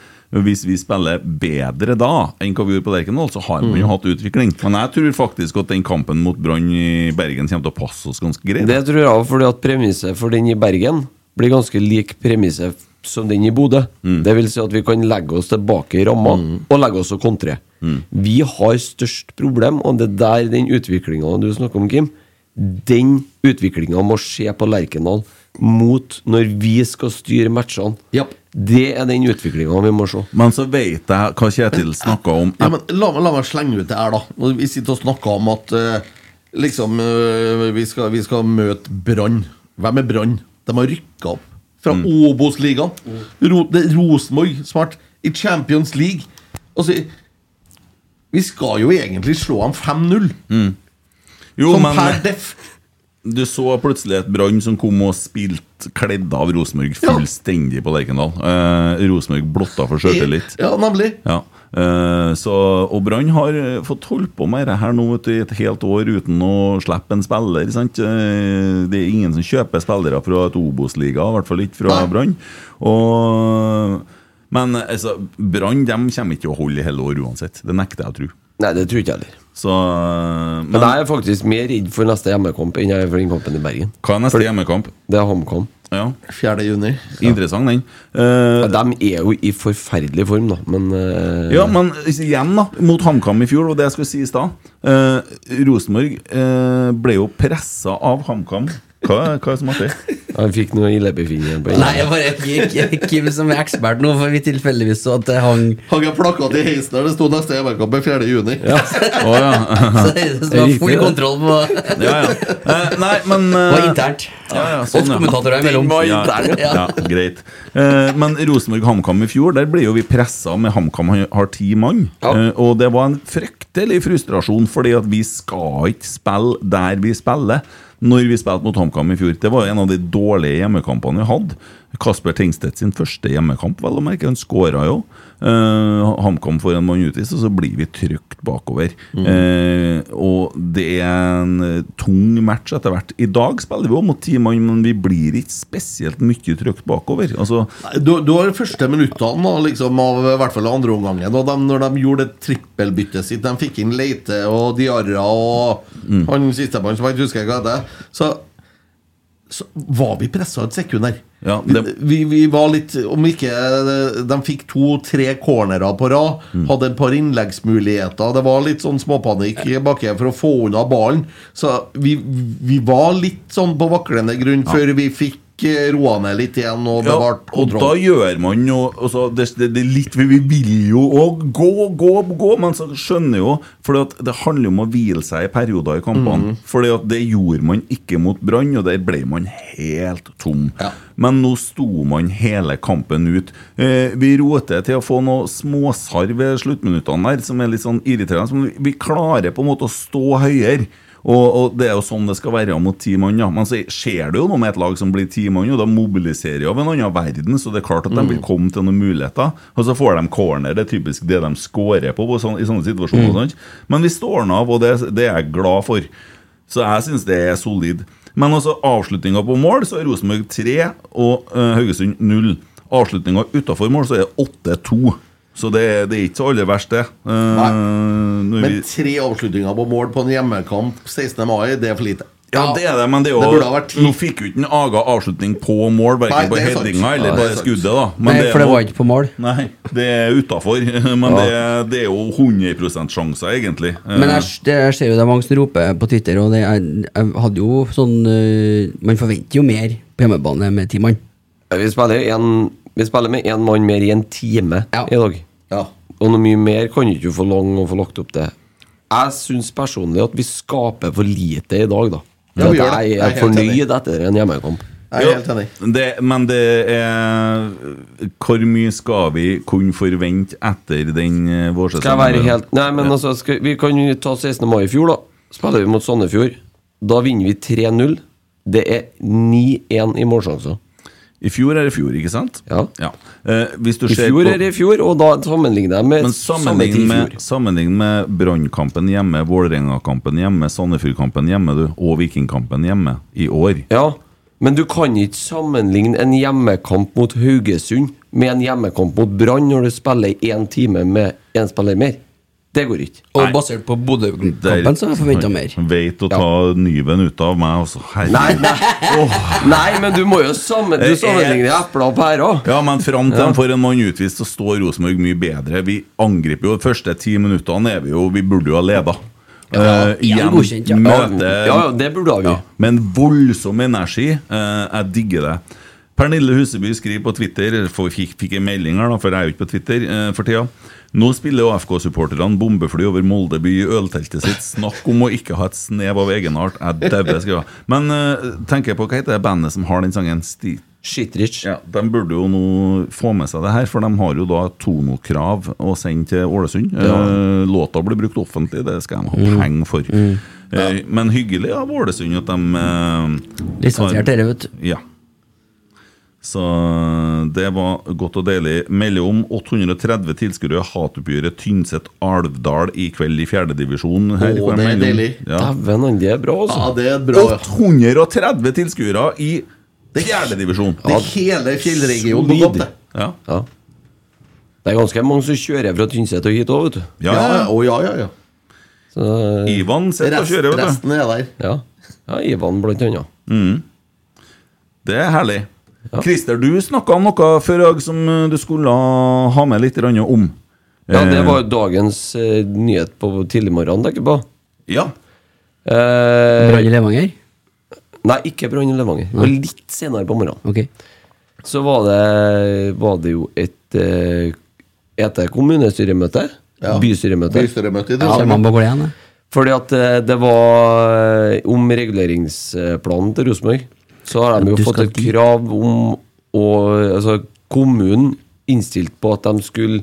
Hvis vi spiller bedre da enn hva vi gjorde på Lerkendal, så har Mm. man jo hatt utvikling. Men jeg tror faktisk at den kampen mot Brann i Bergen kommer til å passe oss ganske greit. Det tror jeg fordi at premisset for den i Bergen blir ganske lik premisset som den i Bodø. Det vil si at vi kan legge oss tilbake i ramma og legge oss og kontre. Vi har størst problem, og det er der den utviklinga du snakker om, Kim, den utviklinga må skje på Lerkendal mot når vi skal styre matchene. Japp. Det er den utviklinga vi må se. Men så vet jeg hva Kjetil snakka om. Ja, men la, meg- la meg slenge ut det her, da. Når Vi sitter og snakker om at eh, liksom, eh, vi, skal, vi skal møte Brann. Hvem er Brann? De har rykka opp fra Mm. Obos-ligaen. Ro, det er Rosenborg som har vært i Champions League. Altså, vi skal jo egentlig slå dem 5-0, Jo, som men- per deff. Du så plutselig et brann som kom og spilte kledd av Rosenborg fullstendig på Lerkendal. Eh, Rosenborg blotta for sjøltillit. Ja, nemlig. Ja. Eh, så, og Brann har eh, fått holdt på med det her nå vet du, i et helt år uten å slippe en spiller. Sant? Eh, det er ingen som kjøper spillere fra et Obos-liga, i hvert fall ikke fra Nei. Brann. Og- Men eh, altså, Brann de kommer ikke til å holde i hele år uansett. Det nekter jeg å tro. Nei, det tror ikke jeg heller. Så, eh, Men men jeg er faktisk mer redd for neste hjemmekamp enn jeg er for den kampen i Bergen. hva er neste hjemmekamp? Det er HamKam. Ja. 4. juni. Interessant, den. Eh, de er jo i forferdelig form, da, men eh, Ja, men igjen, da. Mot HamKam i fjor, og det jeg skulle si i stad. Eh, Rosenborg eh, ble jo pressa av HamKam. Hva, hva er det som er artig? Han fikk noe illebefinnende på Nei, jeg bare gikk Kim som er ekspert nå, for vi tilfeldigvis så at det hang Hang en plakat i heisen der det sto 'Neste hjemmekamp er 4. juni'. Å, ja. Så det er- så det var full kontroll på Ja, ja. Eh, nei, men Det var internt. Ja, ja, Oss kommentatorer imellom. Ja, ja. greit. Eh, men Rosenborg-HamKam i fjor, der ble jo vi pressa med HamKam har- har ti mann. Eh, og det var en fryktelig frustrasjon, fordi at vi skal ikke spille der vi spiller. Når vi spilte mot HamKam i fjor. Det var jo en av de dårlige hjemmekampene vi hadde. Kasper Tengstedt sin første hjemmekamp, vel å merke. Han skåra jo. Eh, HamKam får en mann utvist, og så blir vi trygt bakover. Mm. Eh, og det er en eh, tung match etter hvert. I dag spiller vi jo mot ti mann, men vi blir ikke spesielt mye trygt bakover. Altså, Nei, Du, du har de første minuttene da, liksom, av i hvert fall andre omgangen. Og de, når de gjorde det trippelbyttet sitt, de fikk inn Leite og Diarra og Mm. han sistemann som jeg ikke husker hva heter, så, så var vi pressa et sekund der. Ja, vi, vi var litt Om ikke de fikk to-tre cornerer på rad, Mm. hadde et par innleggsmuligheter Det var litt sånn småpanikk baki for å få unna ballen. Så vi, vi var litt sånn på vaklende grunn Ja. før vi fikk eh, roa ned litt igjen og Ja, bevart og da kontroll. gjør man jo altså, det, det, det er litt, Vi vil jo òg gå, gå, gå, men så skjønner jo For det handler jo om å hvile seg i perioder i kampene. Mhm. Mm. Fordi at det gjorde man ikke mot Brann, og der ble man helt tom. Men nå sto man hele kampen ut. Eh, vi roter til å få noe småsarr ved sluttminuttene der, som er litt sånn irriterende. Men vi- vi klarer på en måte å stå høyere. Og, og det er jo sånn det skal være mot ti mann. Ja. Men så skjer det jo noe med et lag som blir ti mann, og da mobiliserer jo av en annen verden, så det er klart at de Mm. vil komme til noen muligheter. Og så får de corner, det er typisk det de scorer på, på sånn, i sånne situasjoner. Mm. sant? sant? Men vi står den av, og det, det er jeg glad for. Så jeg syns det er solid. Men altså avslutninga på mål, så er Rosenborg 3 og eh, Haugesund 0. Avslutninga utafor mål, så er det 8-2. Så det, er- det er ikke så aller verst, det. Eh, når Men vi- tre avslutninger på mål på en hjemmekamp 16. mai, det er for lite. ja, det er det, men det er jo Det burde ha vært ti. Nå fikk jo ikke en Aga avslutning på mål, Nei, verken på det er sant. headinga eller Ja, på det er sant. skuddet, da. Men Nei, er for det nå- var ikke på mål. Nei, det er utafor. Men Ja. det, det er jo 100 sjanser, egentlig. Eh, Men jeg, det, jeg ser jo det er mange som roper på Twitter, og det, jeg, jeg hadde jo sånn øh, Man forventer jo mer på hjemmebane med ti mann. Vi spiller, en, vi spiller med én mann mer i en time i dag. Og noe mye mer kan du ikke forlange og få lagt opp til. Jeg syns personlig at vi skaper for lite i dag, da. Ja, vi At gjør det. jeg Jeg er er helt fornøyd etter en hjemmekamp. Jeg er helt enig. Det, men det er Hvor mye skal vi kunne forvente etter den eh, vårsesongen? Skal jeg være helt Nei, men altså, skal, vi kan jo ta 16. mai i fjor, da. Spiller vi mot Sandefjord. Da vinner vi 3-0. Det er 9-1 i målsjanser. I fjor er i fjor, ikke sant? Ja. Eh, hvis du I ser fjor på- er i fjor, og da sammenligner jeg med Men samme tid sammenlign i med, fjor. sammenlign med Brannkampen hjemme, Vålerenga-kampen hjemme, Sandefjord-kampen hjemme du, og Vikingkampen hjemme i år. Ja, men du kan ikke sammenligne en hjemmekamp mot Haugesund med en hjemmekamp mot Brann når du spiller én time med én spiller mer. Det går ikke. Og basert på Bodø-kampen så har jeg forventa mer. Veit å ta nyven ut av meg, altså. Herregud. Nei, nei. nei, men du må jo sammen, du sammenligne epler og pærer. Ja, men fram til Ja. de får en mann utvist, så står Rosenborg mye bedre. Vi angriper jo de første ti minuttene, er vi jo Vi burde jo ha leda. Eh, ja, igjen godkjent, ja. møte Ja, ja, det burde ha vi. Med en voldsom energi. Eh, jeg digger det. Pernille Huseby skriver på Twitter for, fikk, fikk en melding her, da, for jeg er jo ikke på Twitter eh, for tida. Nå spiller jo FK-supporterne bombefly over Molde by i ølteltet sitt. Snakk om å ikke ha et snev av egenart. Jeg dauer, skriver hun. Men eh, tenker jeg på hva heter det bandet som har den sangen? Sti Shitrich. Ja, de burde jo nå få med seg det her, for de har jo da tonokrav å sende til Ålesund. Ja. Eh, låta blir brukt offentlig, det skal de ha Mm. penger for. Eh, men hyggelig av Ålesund at de eh, Lisensiert tar- dere, vet du. Ja. Så eh, det var godt og deilig. Melder om 830 tilskuere hatoppgjøret Tynset-Alvdal i kveld i fjerdedivisjon. Å, det er deilig. Dæven, han, det er bra, altså. Ja, det er bra. 830 tilskuere i fjerdedivisjon. Det er hele fjellregionen på godt, det. Ja. Det er ganske mange som kjører fra Tynset og hit òg, vet du. Ja, ja, ja. Å, ja, ja, ja. Ivan sitter og Rest- kjører, vet du. resten er der. Ja, ja Ivan blant annet. Mm. Det er herlig. Christer, du snakka om noe før i dag som eh, du skulle ha med litt grann om. Ja, det Eh, var jo dagens eh, nyhet på tidligmorgenen, tenker jeg på. Ja. Brann i Levanger? Eh, Nei, ikke Brann i Levanger. Det var litt senere på morgenen. Ok. Så var det, var det jo et eh, Heter det kommunestyremøte? Ja. Bystyremøte. Bystyremøte i Ja, desember. men- Kommer an på hvor det er, da. Fordi at eh, det var eh, om reguleringsplanen til Rosenborg. Så har de jo Du fått skal et krav om å Altså, kommunen innstilte på at de skulle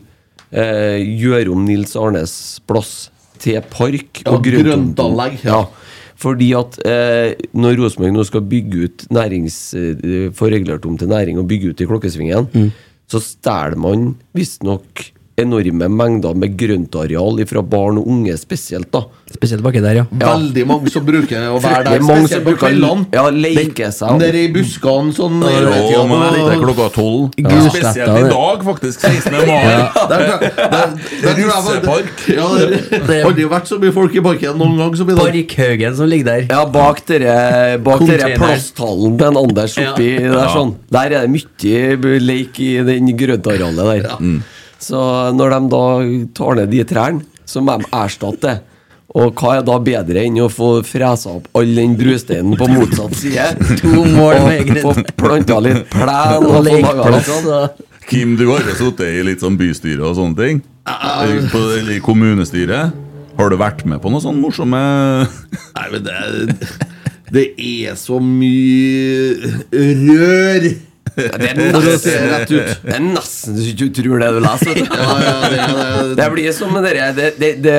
eh, gjøre om Nils Arnes plass til park Ja, og grøntom- grøntanlegg, ja. Ja. Fordi at eh, når Rosenborg nå skal bygge ut nærings, eh, få regulert om til næring og bygge ut i Klokkesvingen, Mm. så stjeler man visstnok enorme mengder med grøntareal fra barn og unge spesielt. da Spesielt baki der, ja. Veldig mange som bruker å være Fryktelig der, mange som spesielt på bruker- kveldene. ja, leke seg opp. Nede i buskene sånn Ja, hele tida, men og- det er klokka tolv. Ja. Gulsletta, Spesielt i det. dag, faktisk. 16. mai. Ja. Der- der tror jeg var- Russepark. Ja, det har aldri vært så mye folk i parken noen gang som i dag. Parkhaugen som ligger der. Ja, bak dere, bak dere Containeren. plasthallen til en Anders oppi Ja. der Ja. sånn. Der er det mye b- leik i den grøntarealet der. Så når de da tar ned de trærne, så må de erstatte det. Og hva er da bedre enn å få fresa opp all den brusteinen på motsatt side? To mål Og med grønt. Få planta litt plen og få laga litt sånn. Kim, du har jo sittet i litt sånn bystyre og sånne ting. Eh, På, eller i kommunestyret. Har du vært med på noe sånn morsomme Nei, men det, det er så mye rør. Det er For å si det rett nesten, ut. det er nesten så ikke du tror det du leser. vet du. Ja, ja, det, det, Det blir som med dere, det, det, det,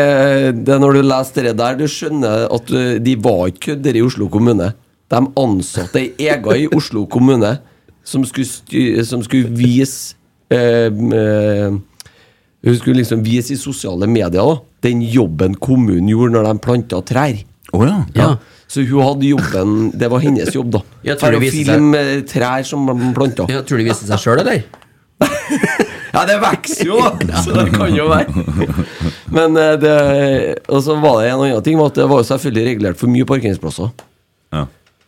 det er når du leser det der, du skjønner at du, de var ikke kødder i Oslo kommune. De ansatte ei ega i Oslo kommune som skulle, sty- som skulle vise eh, eh, Hun skulle liksom vise i sosiale medier da, den jobben kommunen gjorde når de planta trær. Ja. Så hun hadde jobben Det var hennes jobb, da. Jeg tror For det å viste seg- filme trær som man planta. Ja, tror du det viste seg sjøl, eller? ja, det vokser jo, da! Så det kan jo være. Men eh, det Og så var det en annen ting, var at det var jo selvfølgelig regulert for mye parkeringsplasser.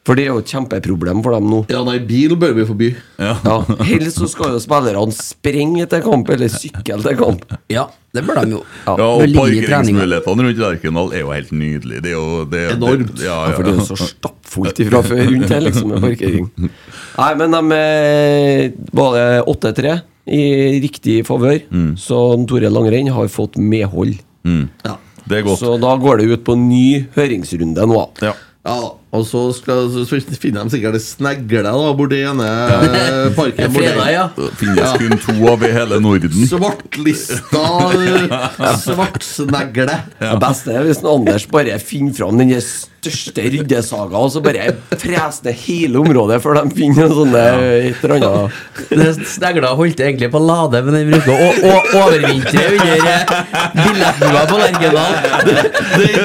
For det er jo et kjempeproblem for dem nå. Ja, nei, bil bør vi forby. Ja. Helst så skal jo spillerne sprenge etter kamp, eller sykle til kamp. Ja, det bør de jo. Ja, og parkeringsmulighetene rundt Lerkendal er jo helt nydelig. Det er jo det, er- Enormt. Det, ja, Ja, for det er jo så stappfullt ifra før rundt her, liksom, med parkering. Nei, men de eh, var det 8-3 i riktig favør, så Tore Langrenn har fått medhold. Det er godt. Så da går det ut på ny høringsrunde nå. Ja. og så, skal, så finner de sikkert ei snegle da, borti ene eh, parken. borti- Fredag, Det finnes kun to av i hele Norden. Svartlista eh, Svartsnegle. Det beste er hvis en Anders bare finner fram den der største ryddesaga, og så bare freser ned hele området før de finner noe sånne et eller annet. Snegla holdt egentlig på å lade, men den bruker å å- å overvintre under eh, billettbua på Lerkendal.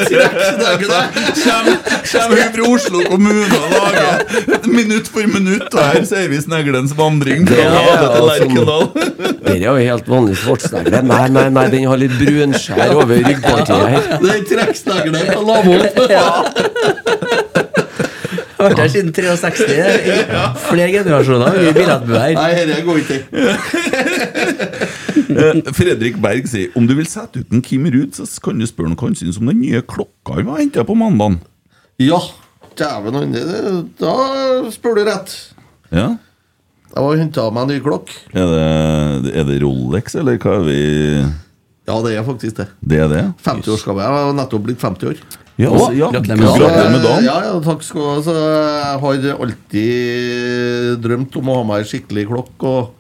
Kommer hun fra Oslo kommune og lager et minutt for minutt, og her ser vi sneglens vandring fra Det er Lade til altså- Lerkendal. Det er jo helt vanlig svartsnegle. Nei, nei, nei, den har litt brunskjær over ryggpartiet her. Den trekkstengelen på lavvoen. Har vært her siden 63. i Flere generasjoner. Mye billettbue Nei, her. dette går ikke. Eh, Fredrik Berg sier om du vil sette ut en Kim Ruud, så kan du spørre ham hva han syns om den nye klokka vi har henta på mandag. Ja, dæven han, det- det- Da spør du rett. Ja. Jeg var og henta meg en ny klokk. Er, det, er det Rolex, eller hva er vi Ja, det er faktisk det. Det er det? 50-årsgave. Jeg har nettopp blitt 50 år. Ja, altså, ja. Gratulerer med Gratulerer med dagen. Ja, ja, takk skal du ha. Så Jeg har alltid drømt om å ha meg ei skikkelig klokke. Og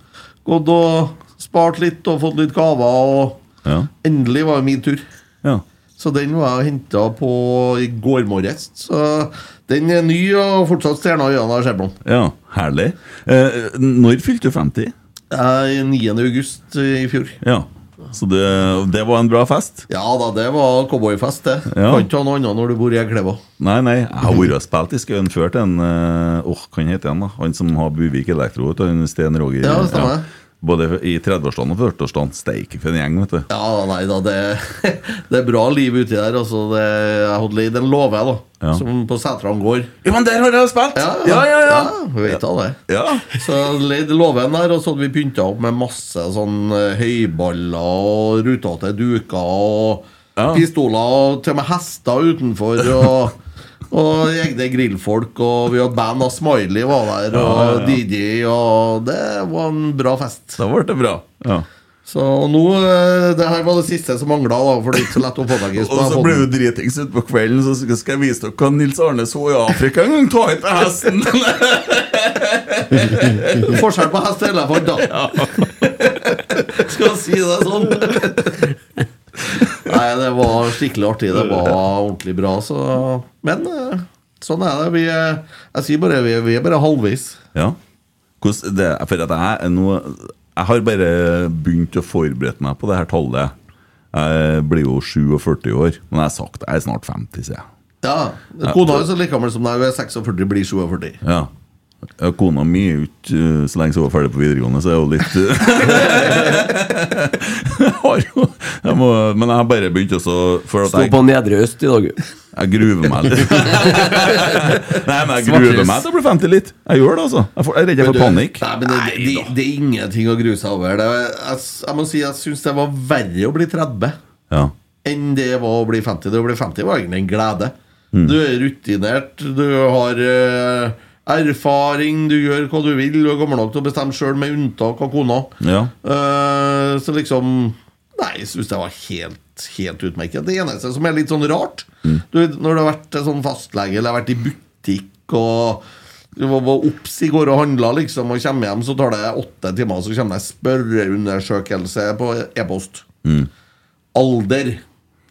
gått og spart litt og fått litt gaver. Og Ja. endelig var det min tur. Ja. Så den var jeg henta på i går morges. Så den er ny og fortsatt stjerna i øynene. Jeg på den. ja. Herlig. Eh, når fylte du 50? Jeg er 9. august i fjor. Ja. Så det, det var en bra fest? Ja da, det var cowboyfest, det. Ja. Kan ikke ha noe annet når du bor i Ekleva. Nei, nei, jeg har vært og spilt i Skauen før eh, til en Åh, hva han heter han da? Han som har Buvik Elektro, vet du, han Sten Roger Ja, det stemmer. Både i 30-årsdagen og 40-årsdagen. Steike for en gjeng, vet du. Ja, nei da, det, det er bra liv uti der. Altså, det, jeg hadde litt- den lover jeg, da. Ja. Som på Sætran gård. Ja, men der har jeg spilt! Ja, Ja, ja, ja. vi vet da det. Ja. Så jeg leide låven der, og så hadde vi pynta opp med masse sånn eh, høyballer og rutete duker og pistoler og til og med hester utenfor. Og, og egne grillfolk, og vi hadde band av Smiley var der, og Ja, ja, ja. DJ, og det var en bra fest. Da ble det bra. Ja. Så og nå, eh, det her var det siste som mangla, for det er ikke så lett å få tak i. Og så ble vi dritings utpå kvelden, så skal- skal jeg vise dere hva Nils Arne så i Afrika en gang. Ta ikke hesten! Forskjell på hest og elefant, da. Skal jeg si det sånn? Nei, det var skikkelig artig. Det var ordentlig bra. Så. Men eh, sånn er det. Vi, er- jeg sier bare vi, vi er bare halvveis. Ja. Hvordan det, for at jeg, er nå, jeg har bare begynt å forberede meg på det her tallet. Jeg blir jo 47 år, men jeg har sagt jeg er snart 50, sier jeg. Ja, Kona er jo så like gammel som deg. Hun er 46, blir 47. Ja. Ja, Kona mi er jo ikke uh, Så lenge hun var ferdig på videregående, så er hun litt uh, har jo, jeg må, Men jeg har bare begynt også for at Stå jeg- på Nedre Øst i dag, jo. Jeg gruver meg litt. Nei, men jeg gruer Svartis. meg til å bli 50 litt. Jeg gjør det, altså. Jeg, får, jeg er redd jeg Men får du, panikk. Nei, men det, det, det er ingenting å grue seg over. Det, er- jeg, s- jeg må si jeg syns det var verre å bli 30 Ja. enn det var å bli 50. Det å bli 50 var egentlig en glede. Mm. Du er rutinert, du har eh, erfaring, du gjør hva du vil, du er gammel nok til å bestemme sjøl, med unntak av kona. Ja. Eh, så liksom Nei, jeg syns det var helt, helt utmerket. Det eneste som er litt sånn rart, Mm. du, vet, når du har vært til sånn fastlege eller har vært i butikk og du var var opps i går og handla, liksom, og kommer hjem, så tar det åtte timer, så kommer det spørreundersøkelse på e-post. Mm. Alder.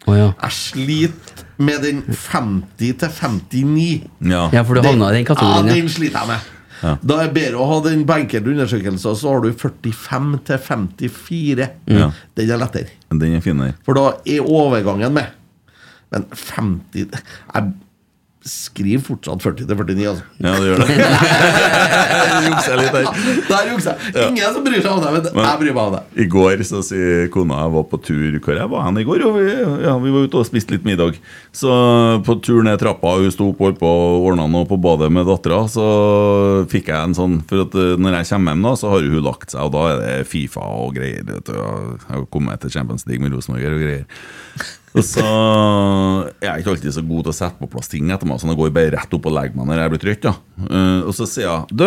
Å ja. Jeg sliter med den 50 til 59. Ja. Ja, for du havna i den kategorien, ja. Ja, den sliter jeg med. Ja. Da er det bedre å ha den på enkelte undersøkelser, så har du 45 til 54. Ja. Den er lettere. Den er fin, der. For da er overgangen med. Men 50 Jeg skriver fortsatt 40 til 49, altså. Ja, det gjør det. Der jukser jeg litt her. Der jukser jeg. Ingen som bryr seg om det, men Men- jeg bryr meg om det. I går så sier kona jeg var på tur Hvor jeg var hen i går? Og vi, ja, vi var ute og spiste litt middag. Så på tur ned trappa, hun sto opp og holdt på og ordna noe på badet med dattera, så fikk jeg en sånn For at eh, når jeg kommer hjem, da, så har hun lagt seg, og da er det Fifa og greier. Vet du, og jeg har kommet til Champions League med Rosenborg og greier. Og så Jeg er ikke alltid så god til å sette på plass ting etter meg, så jeg går bare rett opp og legger meg når jeg blir trøtt. da Eh, Og så sier jeg Du,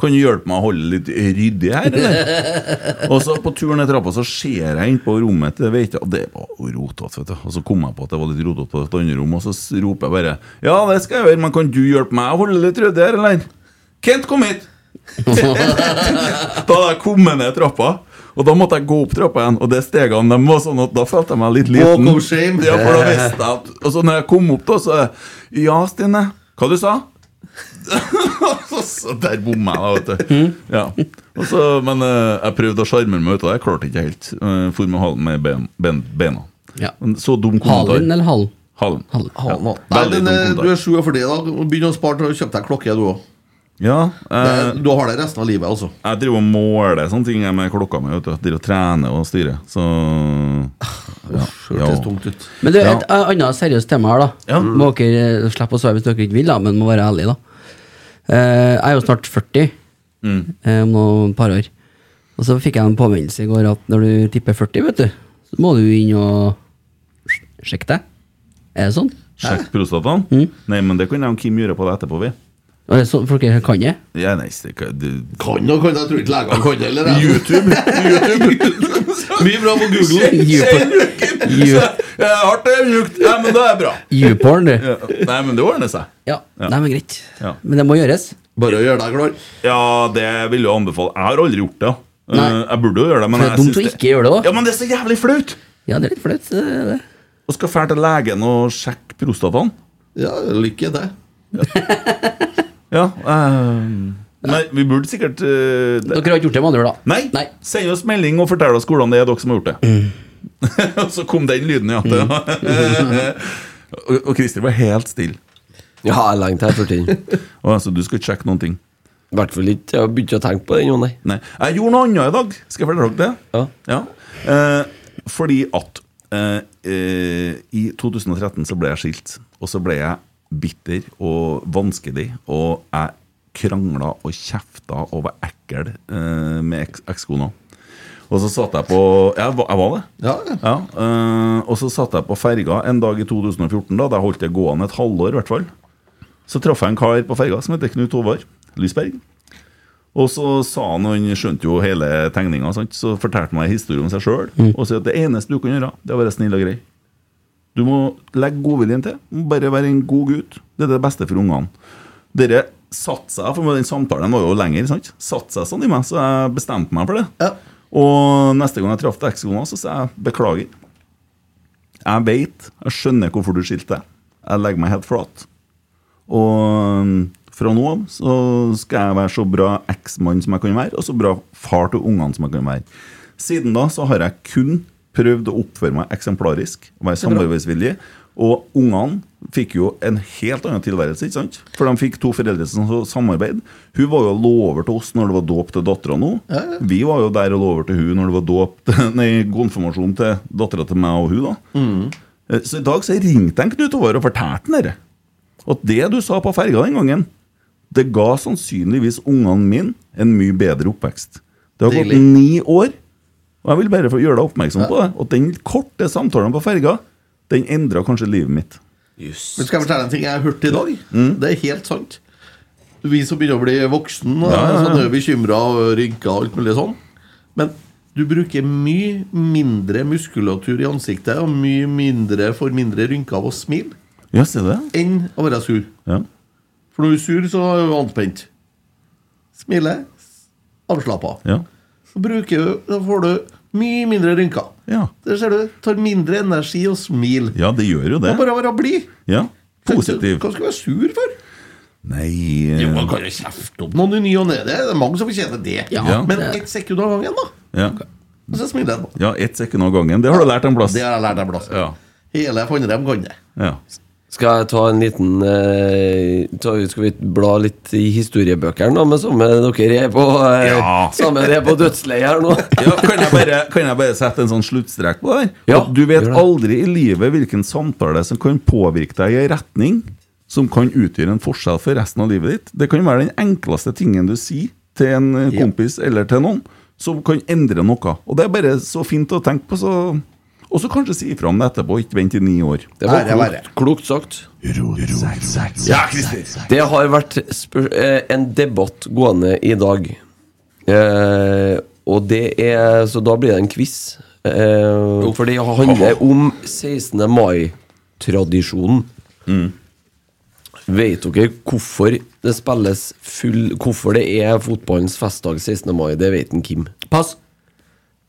kan du hjelpe meg å holde litt ryddig her, eller? og så på turen ned trappa så ser jeg inn på rommet til Veita, og det var jo rotete, vet du. Og så kom jeg på at det var litt rotete på et annet rom, og så s- roper jeg bare Ja, det skal jeg gjøre, men kan du hjelpe meg å holde litt ryddig her, eller? Kent, kom hit! Da hadde jeg kommet ned trappa, og da måtte jeg gå opp trappa igjen. Og det stegene de var sånn at da følte jeg meg litt liten. Walk of shame. Ja, for da visste jeg at, Og så når jeg kom opp, da, så Ja, Stine, hva du sa Så- så Der bomma jeg, da, vet du. Ja. Og så, men eh, jeg prøvde å sjarmere meg ut av det. Jeg klarte ikke helt. Uh, for med halen med ben, ben, bena. Men Så dum kommentar. Halen eller halen? Halen. Halen, Ja. da. Nei, Veldig men, dum eh, du kommentar. er 47 i dag. Begynn å spare til å kjøpe deg klokke, du òg. Ja, eh, Du har det resten av livet, altså. Jeg driver og måler sånne ting jeg med klokka mi. vet du. Jeg driver og trener og styrer. Så Ah, ja, Hørtes tungt ut. Men du, Ja. Mm. et eh, annet seriøst tema her, da. Må dere eh, slippe å svare hvis dere ikke vil, da, men må være ærlige, da. Eh, jeg er jo snart 40, Mm. eh, om noen par år. Og så fikk jeg en påminnelse i går at når du tipper 40, vet du, så må du inn og sjekke deg. Er det sånn? Sjekk prostataen. Mm. Nei, men det kan jeg og Kim gjøre på deg etterpå, vi. Og det er sånn for dere kan det? Ja, nei, så det kan- du- Kan og kan, jeg tror ikke legene kan det. Eller? YouTube! YouTube. Mye bra på Google. Det er hardt, det er mjukt. Nei, men det er bra. YouPorn, du. Ja. Nei, men det ordner seg. Ja. Ja. Nei, men greit. Ja. Men det må gjøres. Bare å gjøre deg klar. Ja, det vil jeg anbefale. Jeg har aldri gjort det. da. Nei. Eh, Jeg burde jo gjøre det, For men det er jeg dumt å synes ikke gjøre det òg. Ja, men det er så jævlig flaut! Ja, det er litt flaut. det er det. Og skal fære til legen og sjekke prostataen. Ja, lykke til. Ja, eh, Nei, vi burde sikkert eh, det- Dere har ikke gjort det med andre, ord, da? Nei, send oss melding og fortell oss hvordan det er dere som har gjort det. Og så kom den lyden, ja. og, og Christer var helt stille. Ja, jeg lengter her for tiden. Å, altså, du skal ikke sjekke noen ting? I hvert fall ikke. Jeg har begynt å tenke på det ennå, nei. nei. Jeg gjorde noe annet i dag. Skal jeg fortelle dere det? Ja. Eh, fordi at eh, eh, i 2013 så ble jeg skilt, og så ble jeg bitter og vanskelig, og jeg krangla og kjefta og var ekkel eh, med eks- ekskona. Og så satt jeg på Jeg var, jeg var det. Ja, eh, og så satt jeg på ferga en dag i 2014, da. Der holdt jeg gående et halvår, i hvert fall. Så traff jeg en kar på ferga som heter Knut Håvard Lysberg. Og så sa han, og han skjønte jo hele tegninga, sant? så fortalte han meg en historie om seg sjøl. Og sa at det eneste du kan gjøre, det er å være snill og grei. Du må legge godviljen til. Du må bare være en god gutt. Det er det beste for ungene. Dere satte seg, for den samtalen var jo lenger, sant? satte seg sånn i meg, så jeg bestemte meg for det. Og neste gang jeg traff ekskona, så sa jeg beklager. Jeg veit, jeg skjønner hvorfor du skilte deg. Jeg legger meg helt flat. Og mm, fra nå av så skal jeg være så bra eksmann som jeg kan være, og så bra far til ungene som jeg kan være. Siden da så har jeg kun prøvd å oppføre meg eksemplarisk, være Det er bra. samarbeidsvillig. Og ungene fikk jo en helt annen tilværelse, ikke sant? For de fikk to foreldre som så samarbeid. Hun var jo og lå over til oss når det var dåp til dattera nå. Vi var jo der og lå over til hun når det var dåp til- Nei, konfirmasjon til dattera til meg og hun, da. Eh, Så i dag så ringte jeg Knut Håvard og fortalte han dette. At det du sa på ferga den gangen, det ga sannsynligvis ungene mine en mye bedre oppvekst. Det har gått Deilig. ni år, og jeg vil bare få gjøre deg oppmerksom på det. At den korte samtalen på ferga, den endra kanskje livet mitt. Men skal jeg fortelle en ting jeg har hørt i dag? Det er helt sant. Vi som begynner å bli voksen Ja, ja, ja. Sånn er bekymra og rynker og alt mulig sånn. Men du bruker mye mindre muskulatur i ansiktet og mye mindre får mindre rynker av å smile Ja, se det. enn å være sur. Ja. For når du er sur, så er du anspent. Smile. Avslappa. Ja. Så bruker du, da får du mye mindre rynker. Der ser du. Tar mindre energi å smile. Ja, det gjør jo det. Og bare være blid. Ja, Positiv. Hva skal du være sur for? Nei eh, Jo, man kan jo kjefte opp noen i ny og ne. Det er mange som fortjener det. Ja. Men ett sekund av gangen, da. ja. Og så smiler jeg. ja, ett sekund av gangen. Det har du lært en plass. Det har jeg lært en plass. Ja. Hele Fannrem kan det. Skal jeg ta en liten eh, ta, Skal vi bla litt i historiebøkene, da, med samme dere er på eh, Ja. Samme dere er på dødsleiet her nå? Ja, kan, jeg bare, kan jeg bare sette en sånn sluttstrek på det her? Ja, At du vet gjør det. aldri i livet hvilken samtale som kan påvirke deg i en retning som kan utgjøre en forskjell for resten av livet ditt. Det kan være den enkleste tingen du sier til en eh, kompis eller til noen, som kan endre noe. Og det er bare så fint å tenke på, så Og så kanskje si ifra om det etterpå, ikke vent i ni år. Det var klokt, klokt sagt. Ja, Christer. Det har vært spør- eh, en debatt gående i dag. Eh, og det er Så da blir det en quiz. Eh, for det handler om 16. mai-tradisjonen. Vet dere hvorfor det spilles full Hvorfor det er fotballens festdag 16. mai? Det vet en Kim. Pass.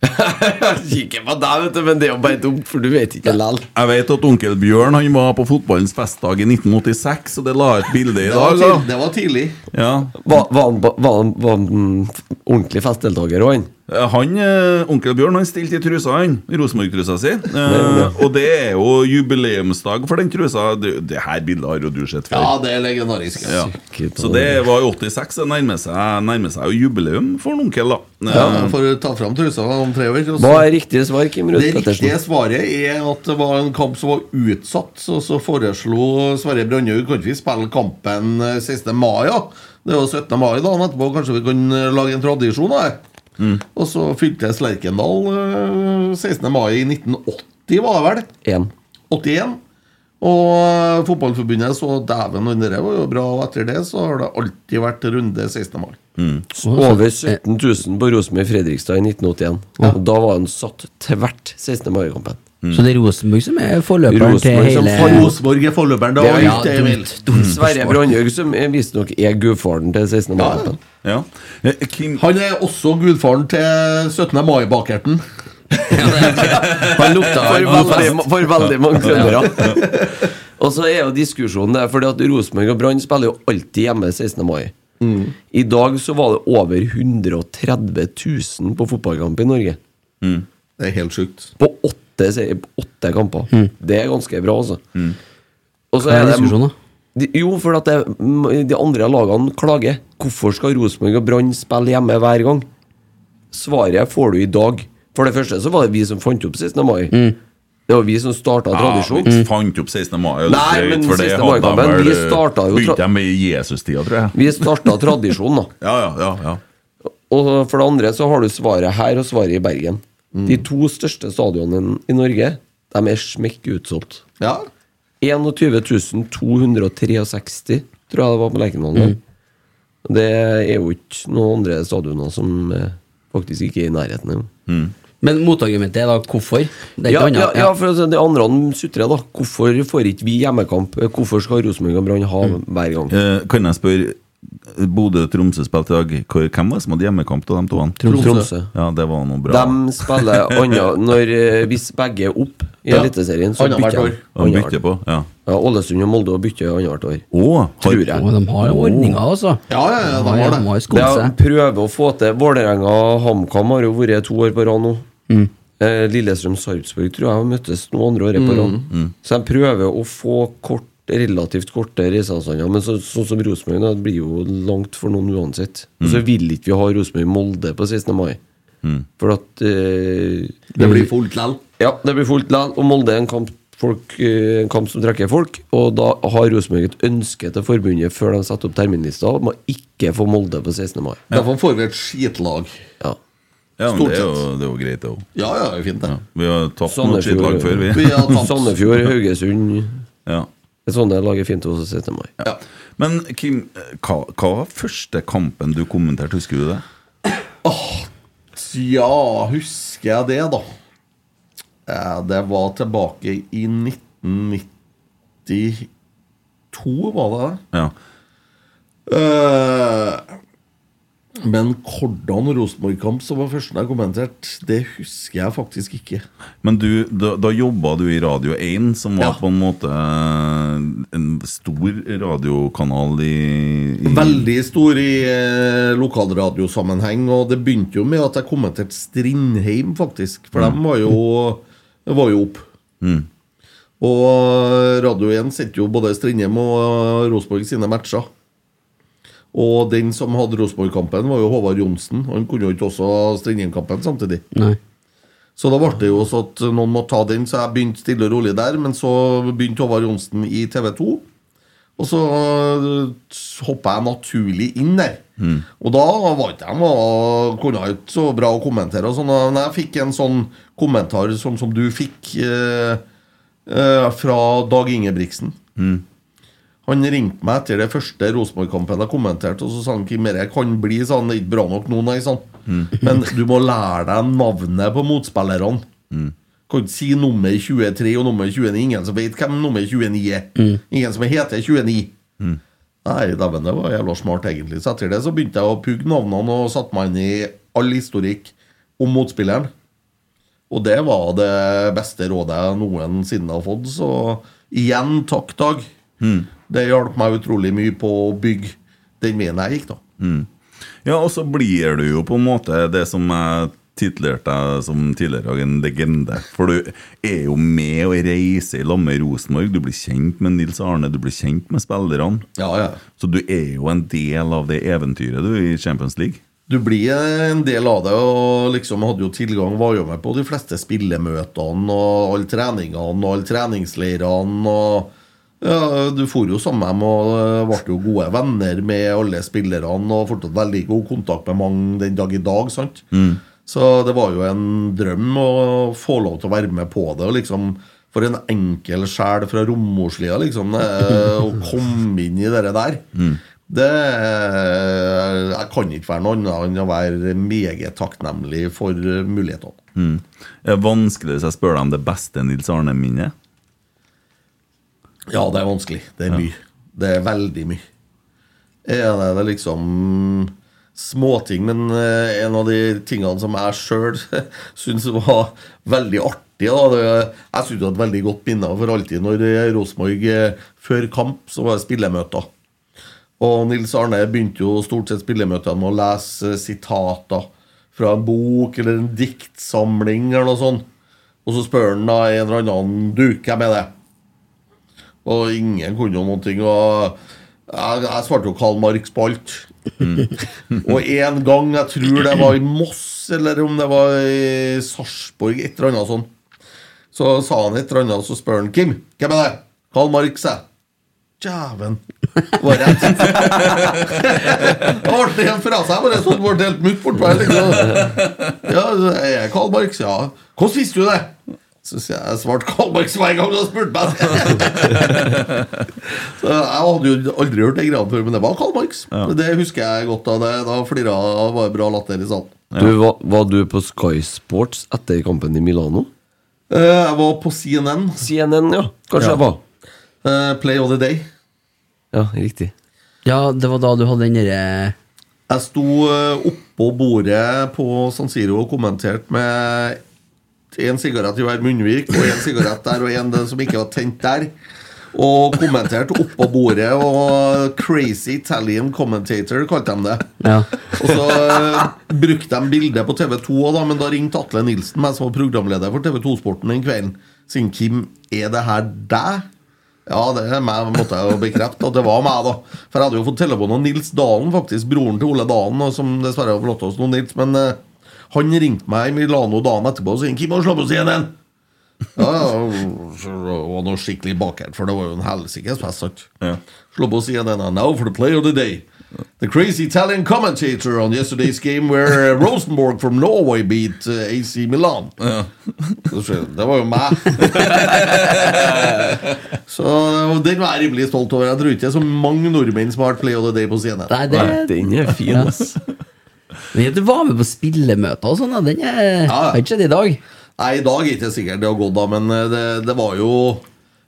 ikke på deg, vet du, men det er jo bare dumt, for du vet ikke likevel. Jeg vet at onkel Bjørn han var på fotballens festdag i 1986, og det la jeg et bilde i Det var, dag. tidlig, da. det var tidlig. Ja. Var, var, han, ba- var, han, var han mm, ordentlig festdeltaker òg, han? Eh, Han, eh, Onkel Bjørn han stilte i trusa, han. Rosenborg-trusa si. Eh, og det er jo jubileumsdag for den trusa. Det, det her bildet har jo du sett før. Ja, det er legendarisk. Ja. Så det var i 86. Det nærmer seg, nærmer seg jo jubileum for en onkel, da. Ja, Eh, Får du ta fram trusa om tre år. og så- Hva er riktig svar, Kim Ruud Det Pettersen? riktige svaret er at det var en kamp som var utsatt. Så, så foreslo Sverre Brandhaug kan ikke vi spille kampen eh, 16. mai. Ja. Det var 17. mai dagen etterpå. Kanskje vi kan eh, lage en tradisjon? Da. Mm. Og så fyltes Lerkendal eh, 16. mai i 1980, var det vel? 81. Og eh, Fotballforbundet så dæven han der var jo bra, og etter det så har det alltid vært runde 16. mai. Over 17 000 på Rosenborg Fredrikstad i 1981. Og da var han satt tvert 16. mai-kampen. Mm. Så det er Rosenborg som er forløperen til Rosenborg som hele for- Rosenborg er forløperen, da. Det er Ja, dumt, Emil. dumt Sverre Brandhaug, som er visstnok er gudfaren til 16. mai-kampen. Ja. Eh, Eh, Han er også gudfaren til 17. mai-bakerten. Han lukta for For veldig veldig, ma- for veldig mange Ja. trøndere. Og så er jo diskusjonen der, fordi at Rosenborg og Brann spiller jo alltid hjemme 16. mai. I dag så var det over 130 000 på fotballkamp i Norge. Det er helt sjukt. På åtte, se- åtte kamper. Det er ganske bra, altså. Og så Hva er er diskusjonen, Mm. det da? De- Jo, for at det, m- de andre lagene klager. Hvorfor skal Rosenborg og Brann spille hjemme hver gang? Svaret får du i dag. For det første så var det vi som fant opp 16. mai. Det var vi som starta tradisjonen. Ja, vi fant opp 16. mai. og det Nei, er drøyt, men for det 16. hadde mai-kampen, vel, vi starta jo tra- Begynte de med i Jesus-tida, tror jeg. Vi starta tradisjonen, da. Og for det andre så har du svaret her og svaret i Bergen. De to største stadionene i Norge, de er smekk utsolgt. Ja. 21.263, tror jeg det var på Lerkendal. der. Det er jo ikke noen andre stadioner som eh, faktisk ikke er i nærheten engang. Men motargumentet er da hvorfor? Det er Ja, ikke annet. ja, ja, for altså, det andre han sutrer, da. Hvorfor får ikke vi hjemmekamp? Hvorfor skal Rosenborg og Brann ha hver gang? Eh, Kan jeg spørre Bodø og Tromsø spilte i dag. Hvor- Hvem var det som hadde hjemmekamp av de to? han? Tromsø. Tromsø. Ja, det var noe bra. De spiller anna når, eh, hvis begge er opp i Ja. Eliteserien, så Annethvert bytter år. de. Ja, de bytter på, ja. Ålesund og Molde bytter annethvert år. Å, har- tror jeg. Å, de har jo ordninger, altså. Ja, ja, ja, de har det. De prøver å få til Vålerenga og HamKam har jo vært to år på rad nå. Mm. Eh, Lillestrøm Sarpsborg tror jeg har møttes noen andre året på Mm. rad. Mm. Så de prøver å få kort, relativt korte reiseavstander. Men så, sånn som Rosenborg nå, det blir jo langt for noen uansett. Og så Mm. vil ikke vi ha Rosenborg-Molde på 16. mai. Mm. For at eh, Det blir fullt lell. Ja, det blir fullt lell. Og Molde er en kamp, folk, eh, en kamp som trekker folk. Og da har Rosenborg et ønske til forbundet før de setter opp terminlista om å ikke få Molde på 16. mai. Derfor får vi et skitlag. Ja. Ja, men Stort det er, jo, sett. det er jo greit, det òg. Ja, ja, det er fint, det. Vi har tapt mot sitt lag Sandefjord, før, vi. Sandefjord, Haugesund Ja. Det er sånne lag er fint å se til meg. Men Kim, eh, hva, hva var første kampen du kommenterte, husker du det? Ja, husker jeg det, da. Eh, Det var tilbake i 1992, var det det? Ja. Eh, Men hvordan Rosenborg-kamp som var første jeg kommenterte, det husker jeg faktisk ikke. Men du, da, da jobba du i Radio 1, som var på en måte eh, en stor radiokanal i, i Veldig stor i eh, lokalradiosammenheng, og det begynte jo med at jeg kommenterte Strindheim, faktisk. For dem var jo, var jo opp. Mm. Og Radio 1 sendte jo både Strindheim og Rosenborg sine matcher. Og den som hadde Rosenborg-kampen, var jo Håvard Johnsen. Han kunne jo ikke også ha Strindheim-kampen samtidig. Nei. Så da ble det jo så at noen måtte ta den, så jeg begynte stille og rolig der. Men så begynte Håvard Johnsen i TV 2, og så hoppa jeg naturlig inn der. Mm. Og da var ikke jeg noe- kunne jeg ikke så bra å kommentere. Og sånn, og når jeg fikk en sånn kommentar sånn som du fikk eh, eh, fra Dag Ingebrigtsen Mm. Han ringte meg etter det første Rosenborg-kampen jeg kommenterte, og så sa han Kim Erik, jeg kan bli sånn, det er ikke bra nok nå, nei, sånn. Men du må lære deg navnet på motspillerne. Mm. Kan ikke si nummer 23 og nummer 29. Ingen som vet hvem nummer 29 er. Ingen som heter 29. Mm. Nei, dæven, det var jævla smart, egentlig. Så etter det så begynte jeg å pugge navnene og satte meg inn i all historikk om motspilleren. Og det var det beste rådet jeg noensinne har fått. Så igjen takk, Dag. Mm. Det hjalp meg utrolig mye på å bygge den veien jeg gikk, da. Mm. Ja, og så blir du jo på en måte det som jeg titlerte deg som tidligere en legende. For du er jo med og reiser i lag med Rosenborg. Du blir kjent med Nils Arne, du blir kjent med spillerne. Så du er jo en del av det eventyret du i Champions League. Du blir en del av det, og liksom hadde jo tilgang, var jo med på de fleste spillemøtene og alle treningene og alle treningsleirene. og ja, Du for jo sammen med dem og eh, ble jo gode venner med alle spillerne og fortsatt veldig god kontakt med mange den dag i dag. sant? Mm. Så det var jo en drøm å få lov til å være med på det. Og liksom, for en enkel sjel fra Romoslia, liksom. eh, Å komme inn i det der. Det eh, Jeg kan ikke være noe annet enn å være meget takknemlig for eh, mulighetene. Mm. Er det vanskelig hvis jeg spør deg om det beste Nils Arne-minnet? Ja, det er vanskelig. Det er mye. Det er veldig mye. Er det, det er liksom småting, men eh, en av de tingene som jeg sjøl syns var veldig artig da, det, Jeg syns det var et veldig godt minne for alltid når eh, Rosenborg eh, før kamp så var det spillemøter. Og Nils Arne begynte jo stort sett spillemøtene med å lese eh, sitater fra en bok eller en diktsamling eller noe sånt. Og så spør han da en eller annen du, hvem er det? Og ingen kunne jo noen ting. Og jeg, jeg svarte jo Karl Marx på alt. og en gang, jeg tror det var i Moss, eller om det var i Sarpsborg, et eller annet sånn, så sa han et eller annet, og så spør han Kim, hvem er det? Karl Marx, jeg. Djæven. Var rett. Han ble helt fra seg, bare sånn, ble helt mutt bortpå her. Liksom. Ja, jeg er Karl Marx, ja. Hvordan visste du det? Så sier jeg jeg svarte Karl Marx hver gang du har spurt meg. Så Eh, jeg hadde jo aldri hørt det greiene før, men det var Karl Marx. Det husker jeg godt av. det Da flira jeg, var det bra latter i salen. Du, var, var du på Sky Sports etter kampen i Milano? Eh, Jeg var på CNN. CNN, ja. Kanskje jeg var. eh, Play of the Day. Ja, riktig. Ja, det var da du hadde den derre Jeg sto eh, oppå bordet på San Siro og kommenterte med én sigarett i hver munnvik og én sigarett der og én som ikke var tent der. Og kommenterte oppå bordet, og Crazy Italian Commentator kalte de det. Ja. Og så eh, brukte de bildet på TV2, også da, men da ringte Atle Nilsen, meg som var programleder for TV2-sporten den kvelden, siden Kim, er det her deg? Ja, det er meg, måtte jeg jo bekrefte at det var meg, da. For jeg hadde jo fått telefon av Nils Dalen, faktisk, broren til Ole Dalen, og som dessverre har forlatt oss nå, Nils. Men eh, han ringte meg i Milano dagen etterpå og sa 'Kim, må du slå på CNN'. Ja, og så var noe skikkelig bakert, for det var jo en helsikes fest. sant? Slå på CNN and now for the play of the day. The crazy Italian commentator on yesterday's game where uh, Rosenborg from Norway beat uh, AC Milan. Så sier jeg, Det var jo meg. så og den var jeg rimelig stolt over. Jeg tror ikke det er så mange nordmenn som har vært play of the day på CNN. Nei, det- Nei, den er fin, ass. Men Du var med på spillemøter og sånn, da. Den er Ja. har ikke skjedd i dag. Nei, i dag er ikke det sikkert det har gått, da, men eh, det, det var jo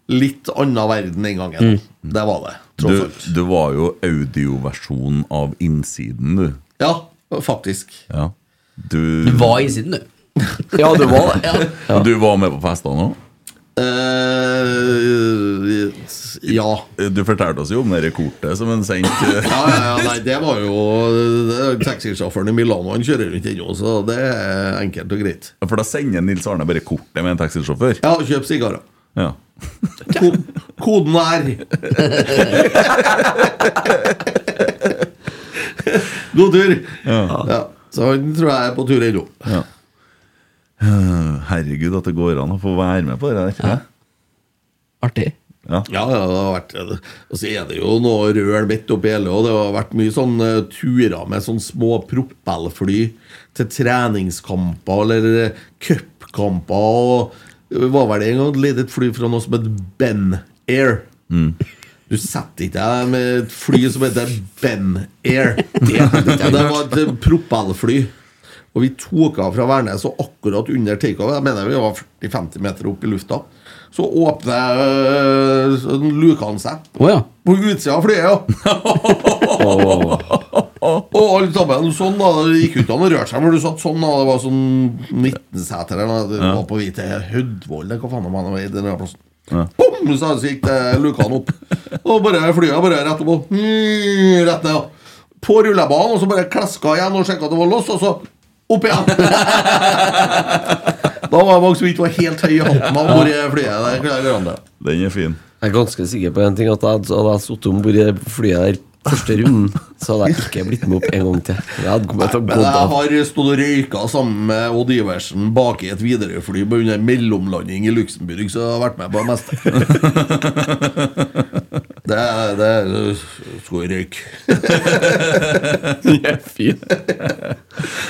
litt annen verden den gangen. Det var det. Du, du var jo audioversjonen av innsiden, du. Ja, faktisk. Ja. Du, Du var i siden, du. Ja, du var det. Ja. Du var med på festene òg? Eh, ja. Du fortalte oss jo om det kortet som en sendte. Ja, ja, ja, nei, det var jo det er jo Taxisjåføren i Milano han kjører rundt ennå, så det er enkelt og greit. For da sender Nils Arne bare kortet med en taxisjåfør? Ja, kjøp sigarer. Ja. Ko koden er God tur! Ja. Ja, så han tror jeg er på tur ennå. Ja. Eh, Herregud, at det går an å få være med på det der. Ja. Artig. Ja. ja, det har vært Og så er det jo noe røl midt oppi hele, og det har vært mye sånn eh, turer med sånn små propellfly til treningskamper eller eh, cupkamper. Og det var vel en gang leid et fly fra noe som het Ben Air. Du setter ikke deg med et fly som heter Ben Air. Det, det var et eh, propellfly. Og vi tok av fra Værnes, og akkurat under takeover, jeg mener vi var 40-50 meter opp i lufta, så åpner øh, sånn lukene seg. På utsida av flyet, ja. og alle sammen sånn, da. Det gikk ut an å røre seg, for du satt sånn, da. Det var sånn 19 seter eller noe. Det Ja. var på vei til Hødvoll, eller hva faen det var, det var i den der plassen. Ja. Bom, så gikk det lukene opp. Og bare flyet bare rett opp og mm, rett ned. ja. På rullebanen, og så bare kleska igjen og sjekka at det var låst, og så opp igjen. da var det mange som ikke var helt høy i hatten av hvor flyet der. kan jeg garantere. Den er fin. Jeg er ganske sikker på en ting, at jeg- hadde jeg sittet om bord i det flyet der første runden, så hadde jeg ikke blitt med opp en gang til. Jeg hadde kommet til å Men gå jeg av. har stått og røyka sammen med Odd Iversen bak i et Widerøe-fly under en mellomlanding i Luxembourg, så jeg har vært med på det meste. det er- det er Skal vi røyke? Den er fin.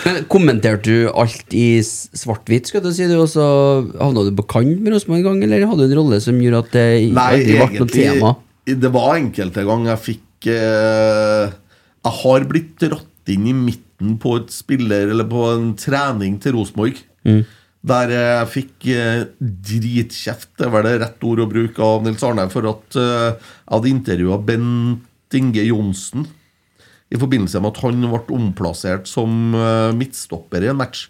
Men kommenterte du alt i s- svart-hvitt, skulle jeg til å si, du, og så havna du på kant med Rosenborg en gang, eller hadde du en rolle som gjorde at det Nei, aldri ble noe tema? Det var enkelte ganger jeg fikk eh, Jeg har blitt dratt inn i midten på et spiller Eller på en trening til Rosenborg. Mm. Der eh, jeg fikk eh, dritkjeft, det var det rett ord å bruke av Nils Arne, for at eh, jeg hadde intervjua Bent Inge Johnsen i forbindelse med at han ble omplassert som eh, midtstopper i en match.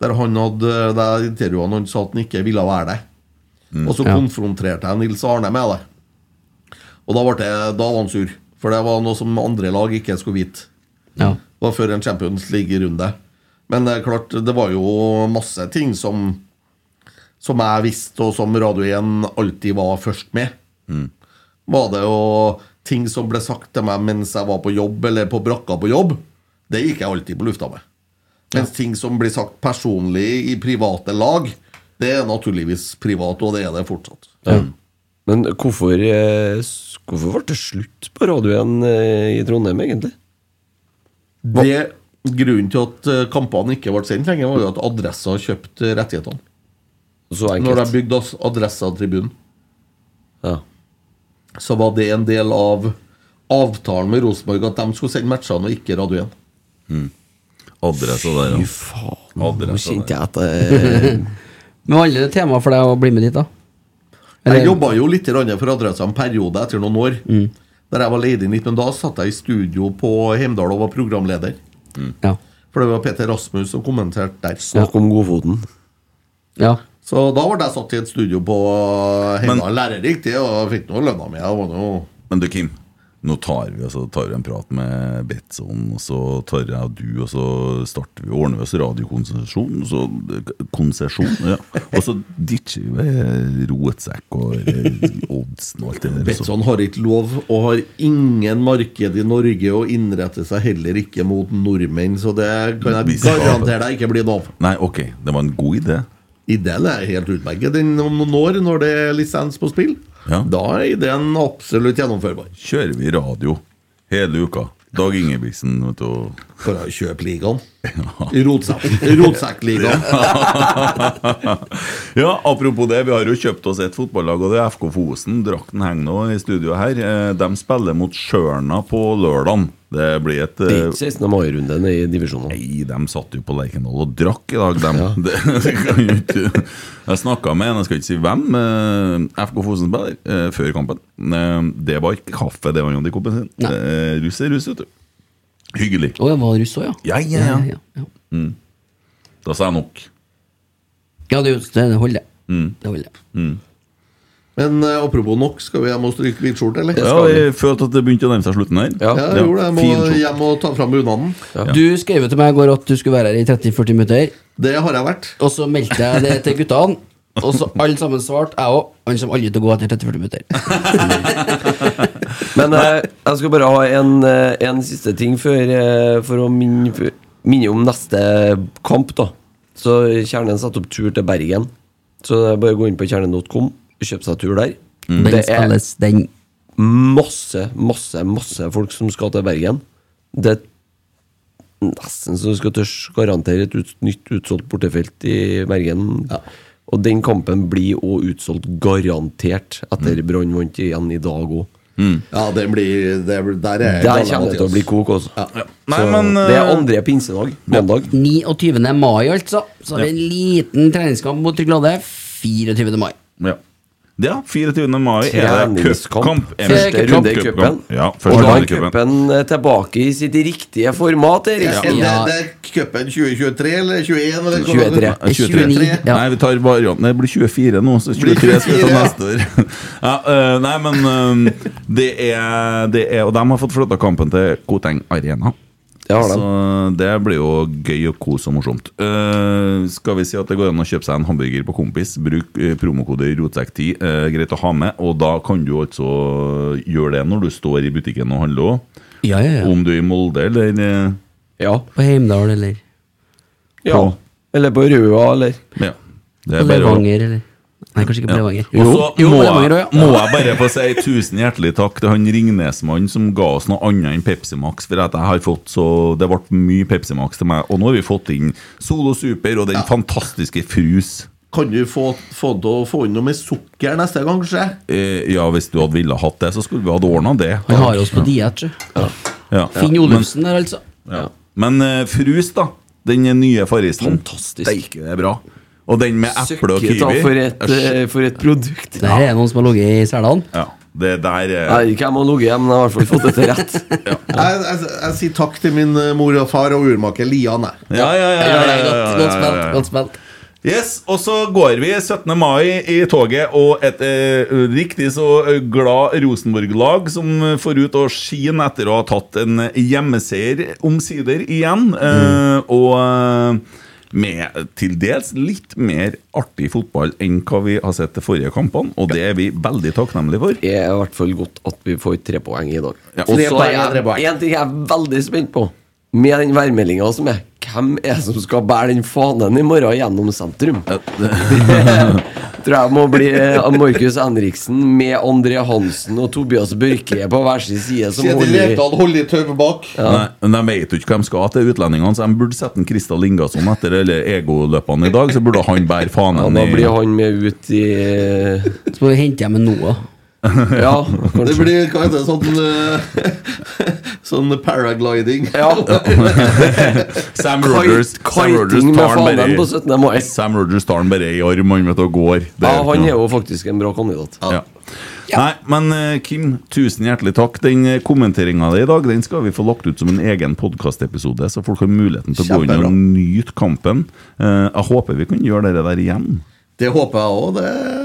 Der han hadde, der intervjuet han sa at han ikke ville være der. Og så Ja. konfronterte jeg Nils Arne med det. Og da, ble det, da var han sur, for det var noe som andre lag ikke skulle vite. Ja. Det var før en Champions League-runde. Men det er klart, det var jo masse ting som Som jeg visste, og som Radio 1 alltid var først med. Var det jo ting som ble sagt til meg mens jeg var på jobb, eller på brakka på jobb, det gikk jeg alltid på lufta med. Mens ting som blir sagt personlig i private lag, det er naturligvis privat, og det er det fortsatt. Men hvorfor, eh, s- hvorfor ble det slutt på radioen eh, i Trondheim, egentlig? Det, grunnen til at eh, kampene ikke ble sendt lenger, var jo at Adressa kjøpte rettighetene. Så enkelt. Når de bygde as- Adressa-tribunen, Ja. så var det en del av avtalen med Rosenborg at de skulle sende matchene, og ikke Radio 1. Adressa der, ja. Fy faen. Adressa kjente jeg at eh, Men var alle temaer for deg å bli med dit, da? Jeg jobba jo litt grann for Adressa en periode etter noen år. Der jeg var leid inn litt, men da satt jeg i studio på Heimdal og var programleder. Mm. Ja. For det var Peter Rasmus som kommenterte der. Snakk om godfoten. Ja. Så da ble jeg satt i et studio på Heimdal. Lærerikt, det, og jeg fikk noe lønna mi. Jeg var noe Men du, Kim. Nå tar vi, altså, tar vi en prat med Betson, og så tar jeg og du, og så starter vi, ordner vi oss radiokonsesjon. Så, konsesjon, ja. Og så ditcher vi eh, rotsekk og eh, oddsen og alt det der. og så- Betson har ikke lov, og har ingen marked i Norge, og innretter seg heller ikke mot nordmenn, så det kan Vi jeg skal- garantere deg ikke blir noe av. Nei, ok, det var en god idé. Ideen er helt utmerket. Den om noen år, når det er lisens på spill, da er ideen absolutt gjennomførbar. Kjører vi radio hele uka. Dag Ingebrigtsen, vet du. For å kjøpe ligaen. Rotsekk- Rotsekkligaen. ja, apropos det, vi har jo kjøpt oss et fotballag, og det er FK Fosen. Drakten henger nå i studio her. Eh, De spiller mot Sjørna på lørdagen. Det blir et Det er eh, ikke 16. mai-runden i divisjonen. Nei, de satt jo på Lerkendal og drakk i dag, dem. Det, det kan jo ikke Jeg snakka med en, jeg skal ikke si hvem, eh, FK Fosen-spiller, eh, før kampen. Eh, det var ikke kaffe, det var Johnny Koppen sin. Eh, russ er russ, vet du. Hyggelig. Å, jeg var russ òg, ja. Ja, ja, ja. ja. Mm. Da sa jeg nok. Ja, det, er jo- det holder. Mm. Det holder. Men eh, apropos nok, skal vi hjem og stryke hvitskjorte, eller? Ja, jeg følte at det begynte å nærme seg slutten her. Ja, jeg gjorde det. Jeg Fin må skjorte. hjem og ta fram bunaden. Du skrev jo til meg i går at du skulle være her i 30-40 minutter. Det har jeg vært. Og så meldte jeg det til guttene, og så alle sammen svarte, jeg òg. Han kommer aldri til å gå etter 30-40 minutter. Mm. Men eh, jeg skal bare ha en, eh, en siste ting før, eh, for å minne, minne om neste kamp, da. Så Kjernen setter opp tur til Bergen. Så det er bare å gå inn på kjernen.com og kjøpe seg tur der. Mm. Den spilles, den. masse, masse, masse folk som skal til Bergen. Det er nesten så du skal tørre garantere et ut, nytt utsolgt bortefelt i Bergen. Og den kampen blir òg utsolgt garantert etter Brann vant igjen i dag òg. Ja, det blir det, Der er jeg Der gammel, kommer det til å Mathias. bli kok, altså. Nei, så men, det er eh, andre pinsedag. Mandag. 29. mai, altså. Så har vi en liten treningskamp mot Tryglade. 24. mai. Ja. ja 24. mai er det Treningskamp. cupkamp. Er det Første cupkamp? runde i cupen. Ja, Og første da runde er i cupen. cupen eh, tilbake i sitt riktige format, Erik. Ja. Er det, det er cupen 2023 eller 21? Eller, Nei, 23. Nei, vi tar varianten. Det blir 24 nå, så 23 skal vi ta 24, ja. neste år. Ja, øh, nei, men øh, det, er, det er Og de har fått flytta kampen til Koteng Arena. har de. Så eh, det blir jo gøy og kos og morsomt. Øh, skal vi si at det går an å kjøpe seg en hamburger på Kompis? Bruk øh, promokode ROTSEK10. øh, greit å ha med. Og da kan du altså gjøre det når du står i butikken og handler òg. Ja, ja, ja. Om du er i Molde eller øh, På Heimdal, eller Ja. Eller på Røa, eller ja. på Levanger, eller Nei, kanskje ikke på Ja. Levanger. Og så Jo, må, på Levanger jeg- også, ja. må jeg bare få si tusen hjertelig takk til han Ringnesmannen som ga oss noe annet enn Pepsi Max. For at jeg har fått så, det ble mye Pepsi Max til meg. Og nå har vi fått inn Solo Super og den fantastiske Frus. Kan du få, få, til å få inn noe med sukker neste gang, kanskje? Eh, ja, hvis du hadde ville hatt det, så skulle vi hatt ordna det. Han har oss på diett, sjø. Ja. Finn Ja, Olufsen der, altså. Men, ja. men eh, Frus, da. Den nye farrisen. Fantastisk. Steike, det er bra. Og den med eple og Søkket, da, kiwi. for et, eh, for et produkt. Der er det noen som har ligget i selene. Ja, det der eh, Jeg vet ikke hvem som har ligget hjemme, men jeg har i hvert fall fått dette rett. Jeg, jeg, jeg sier takk til min eh, mor og far og urmaker Lian, jeg. Ja, ja, ja, ja, ja, ja, ja, ja, ja, ja. Yes, og så går vi 17. mai i toget, og et eh, riktig så glad Rosenborg-lag som får ut og skine etter Mm. å ha tatt en hjemmeseier omsider igjen. Eh, og eh, med til dels litt mer artig fotball enn hva vi har sett de forrige kampene, og det er vi veldig takknemlige for. Det er i hvert fall godt at vi får tre poeng i dag. Ja, og tre så poeng er er tre poeng. jeg, en ting jeg er veldig spent på, med den værmeldinga som er Hvem er det som skal bære den fanen i morgen gjennom sentrum? Det tror jeg må bli Markus Henriksen med André Hansen og Tobias Børke på hver sin side. Som Kjetil holder Rekdal holder i tauet bak. Nei, men De vet jo ikke hvem skal til utlendingene, så de burde sette en Kristal Ingasson etter alle egoløpene i dag. Så burde han bære fanen. Ja, da i- blir han med ut i Så må vi hente hjem en Noah. Ja, Det blir hva heter det, sånn eh, Sånn paragliding. Sam Rogers Sam Rogers kiting med tar han fanen på bare i- Sam Rogers tar han bare i arm, han vet du, og går. Det Ja, han ikke er noe. jo faktisk en bra kandidat. Ja. Nei, men eh, Kim, tusen hjertelig takk. Den eh, kommenteringen di i dag Den skal vi få lagt ut som en egen podkastepisode, så folk har muligheten til å gå inn og nyte kampen. Eh, jeg håper vi kan gjøre det der igjen. Det håper jeg òg. Det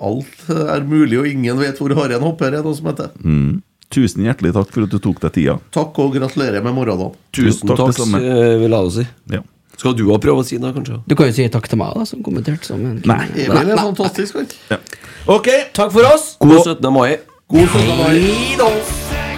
Alt er mulig, og ingen vet hvor haren hopper, er det noe som heter. Mm. Tusen hjertelig takk for at du tok deg tida. Takk og gratulerer med morgendagen. Tusen takk, det samme. eh, vil jeg også si. Ja. Skal du òg prøve å si noe, kanskje? Du kan jo si takk til meg, da, som kommenterte. Som en Nei. Emil er fantastisk. vet du. Ok, Takk for oss! God 17. mai. God søndag. Mari.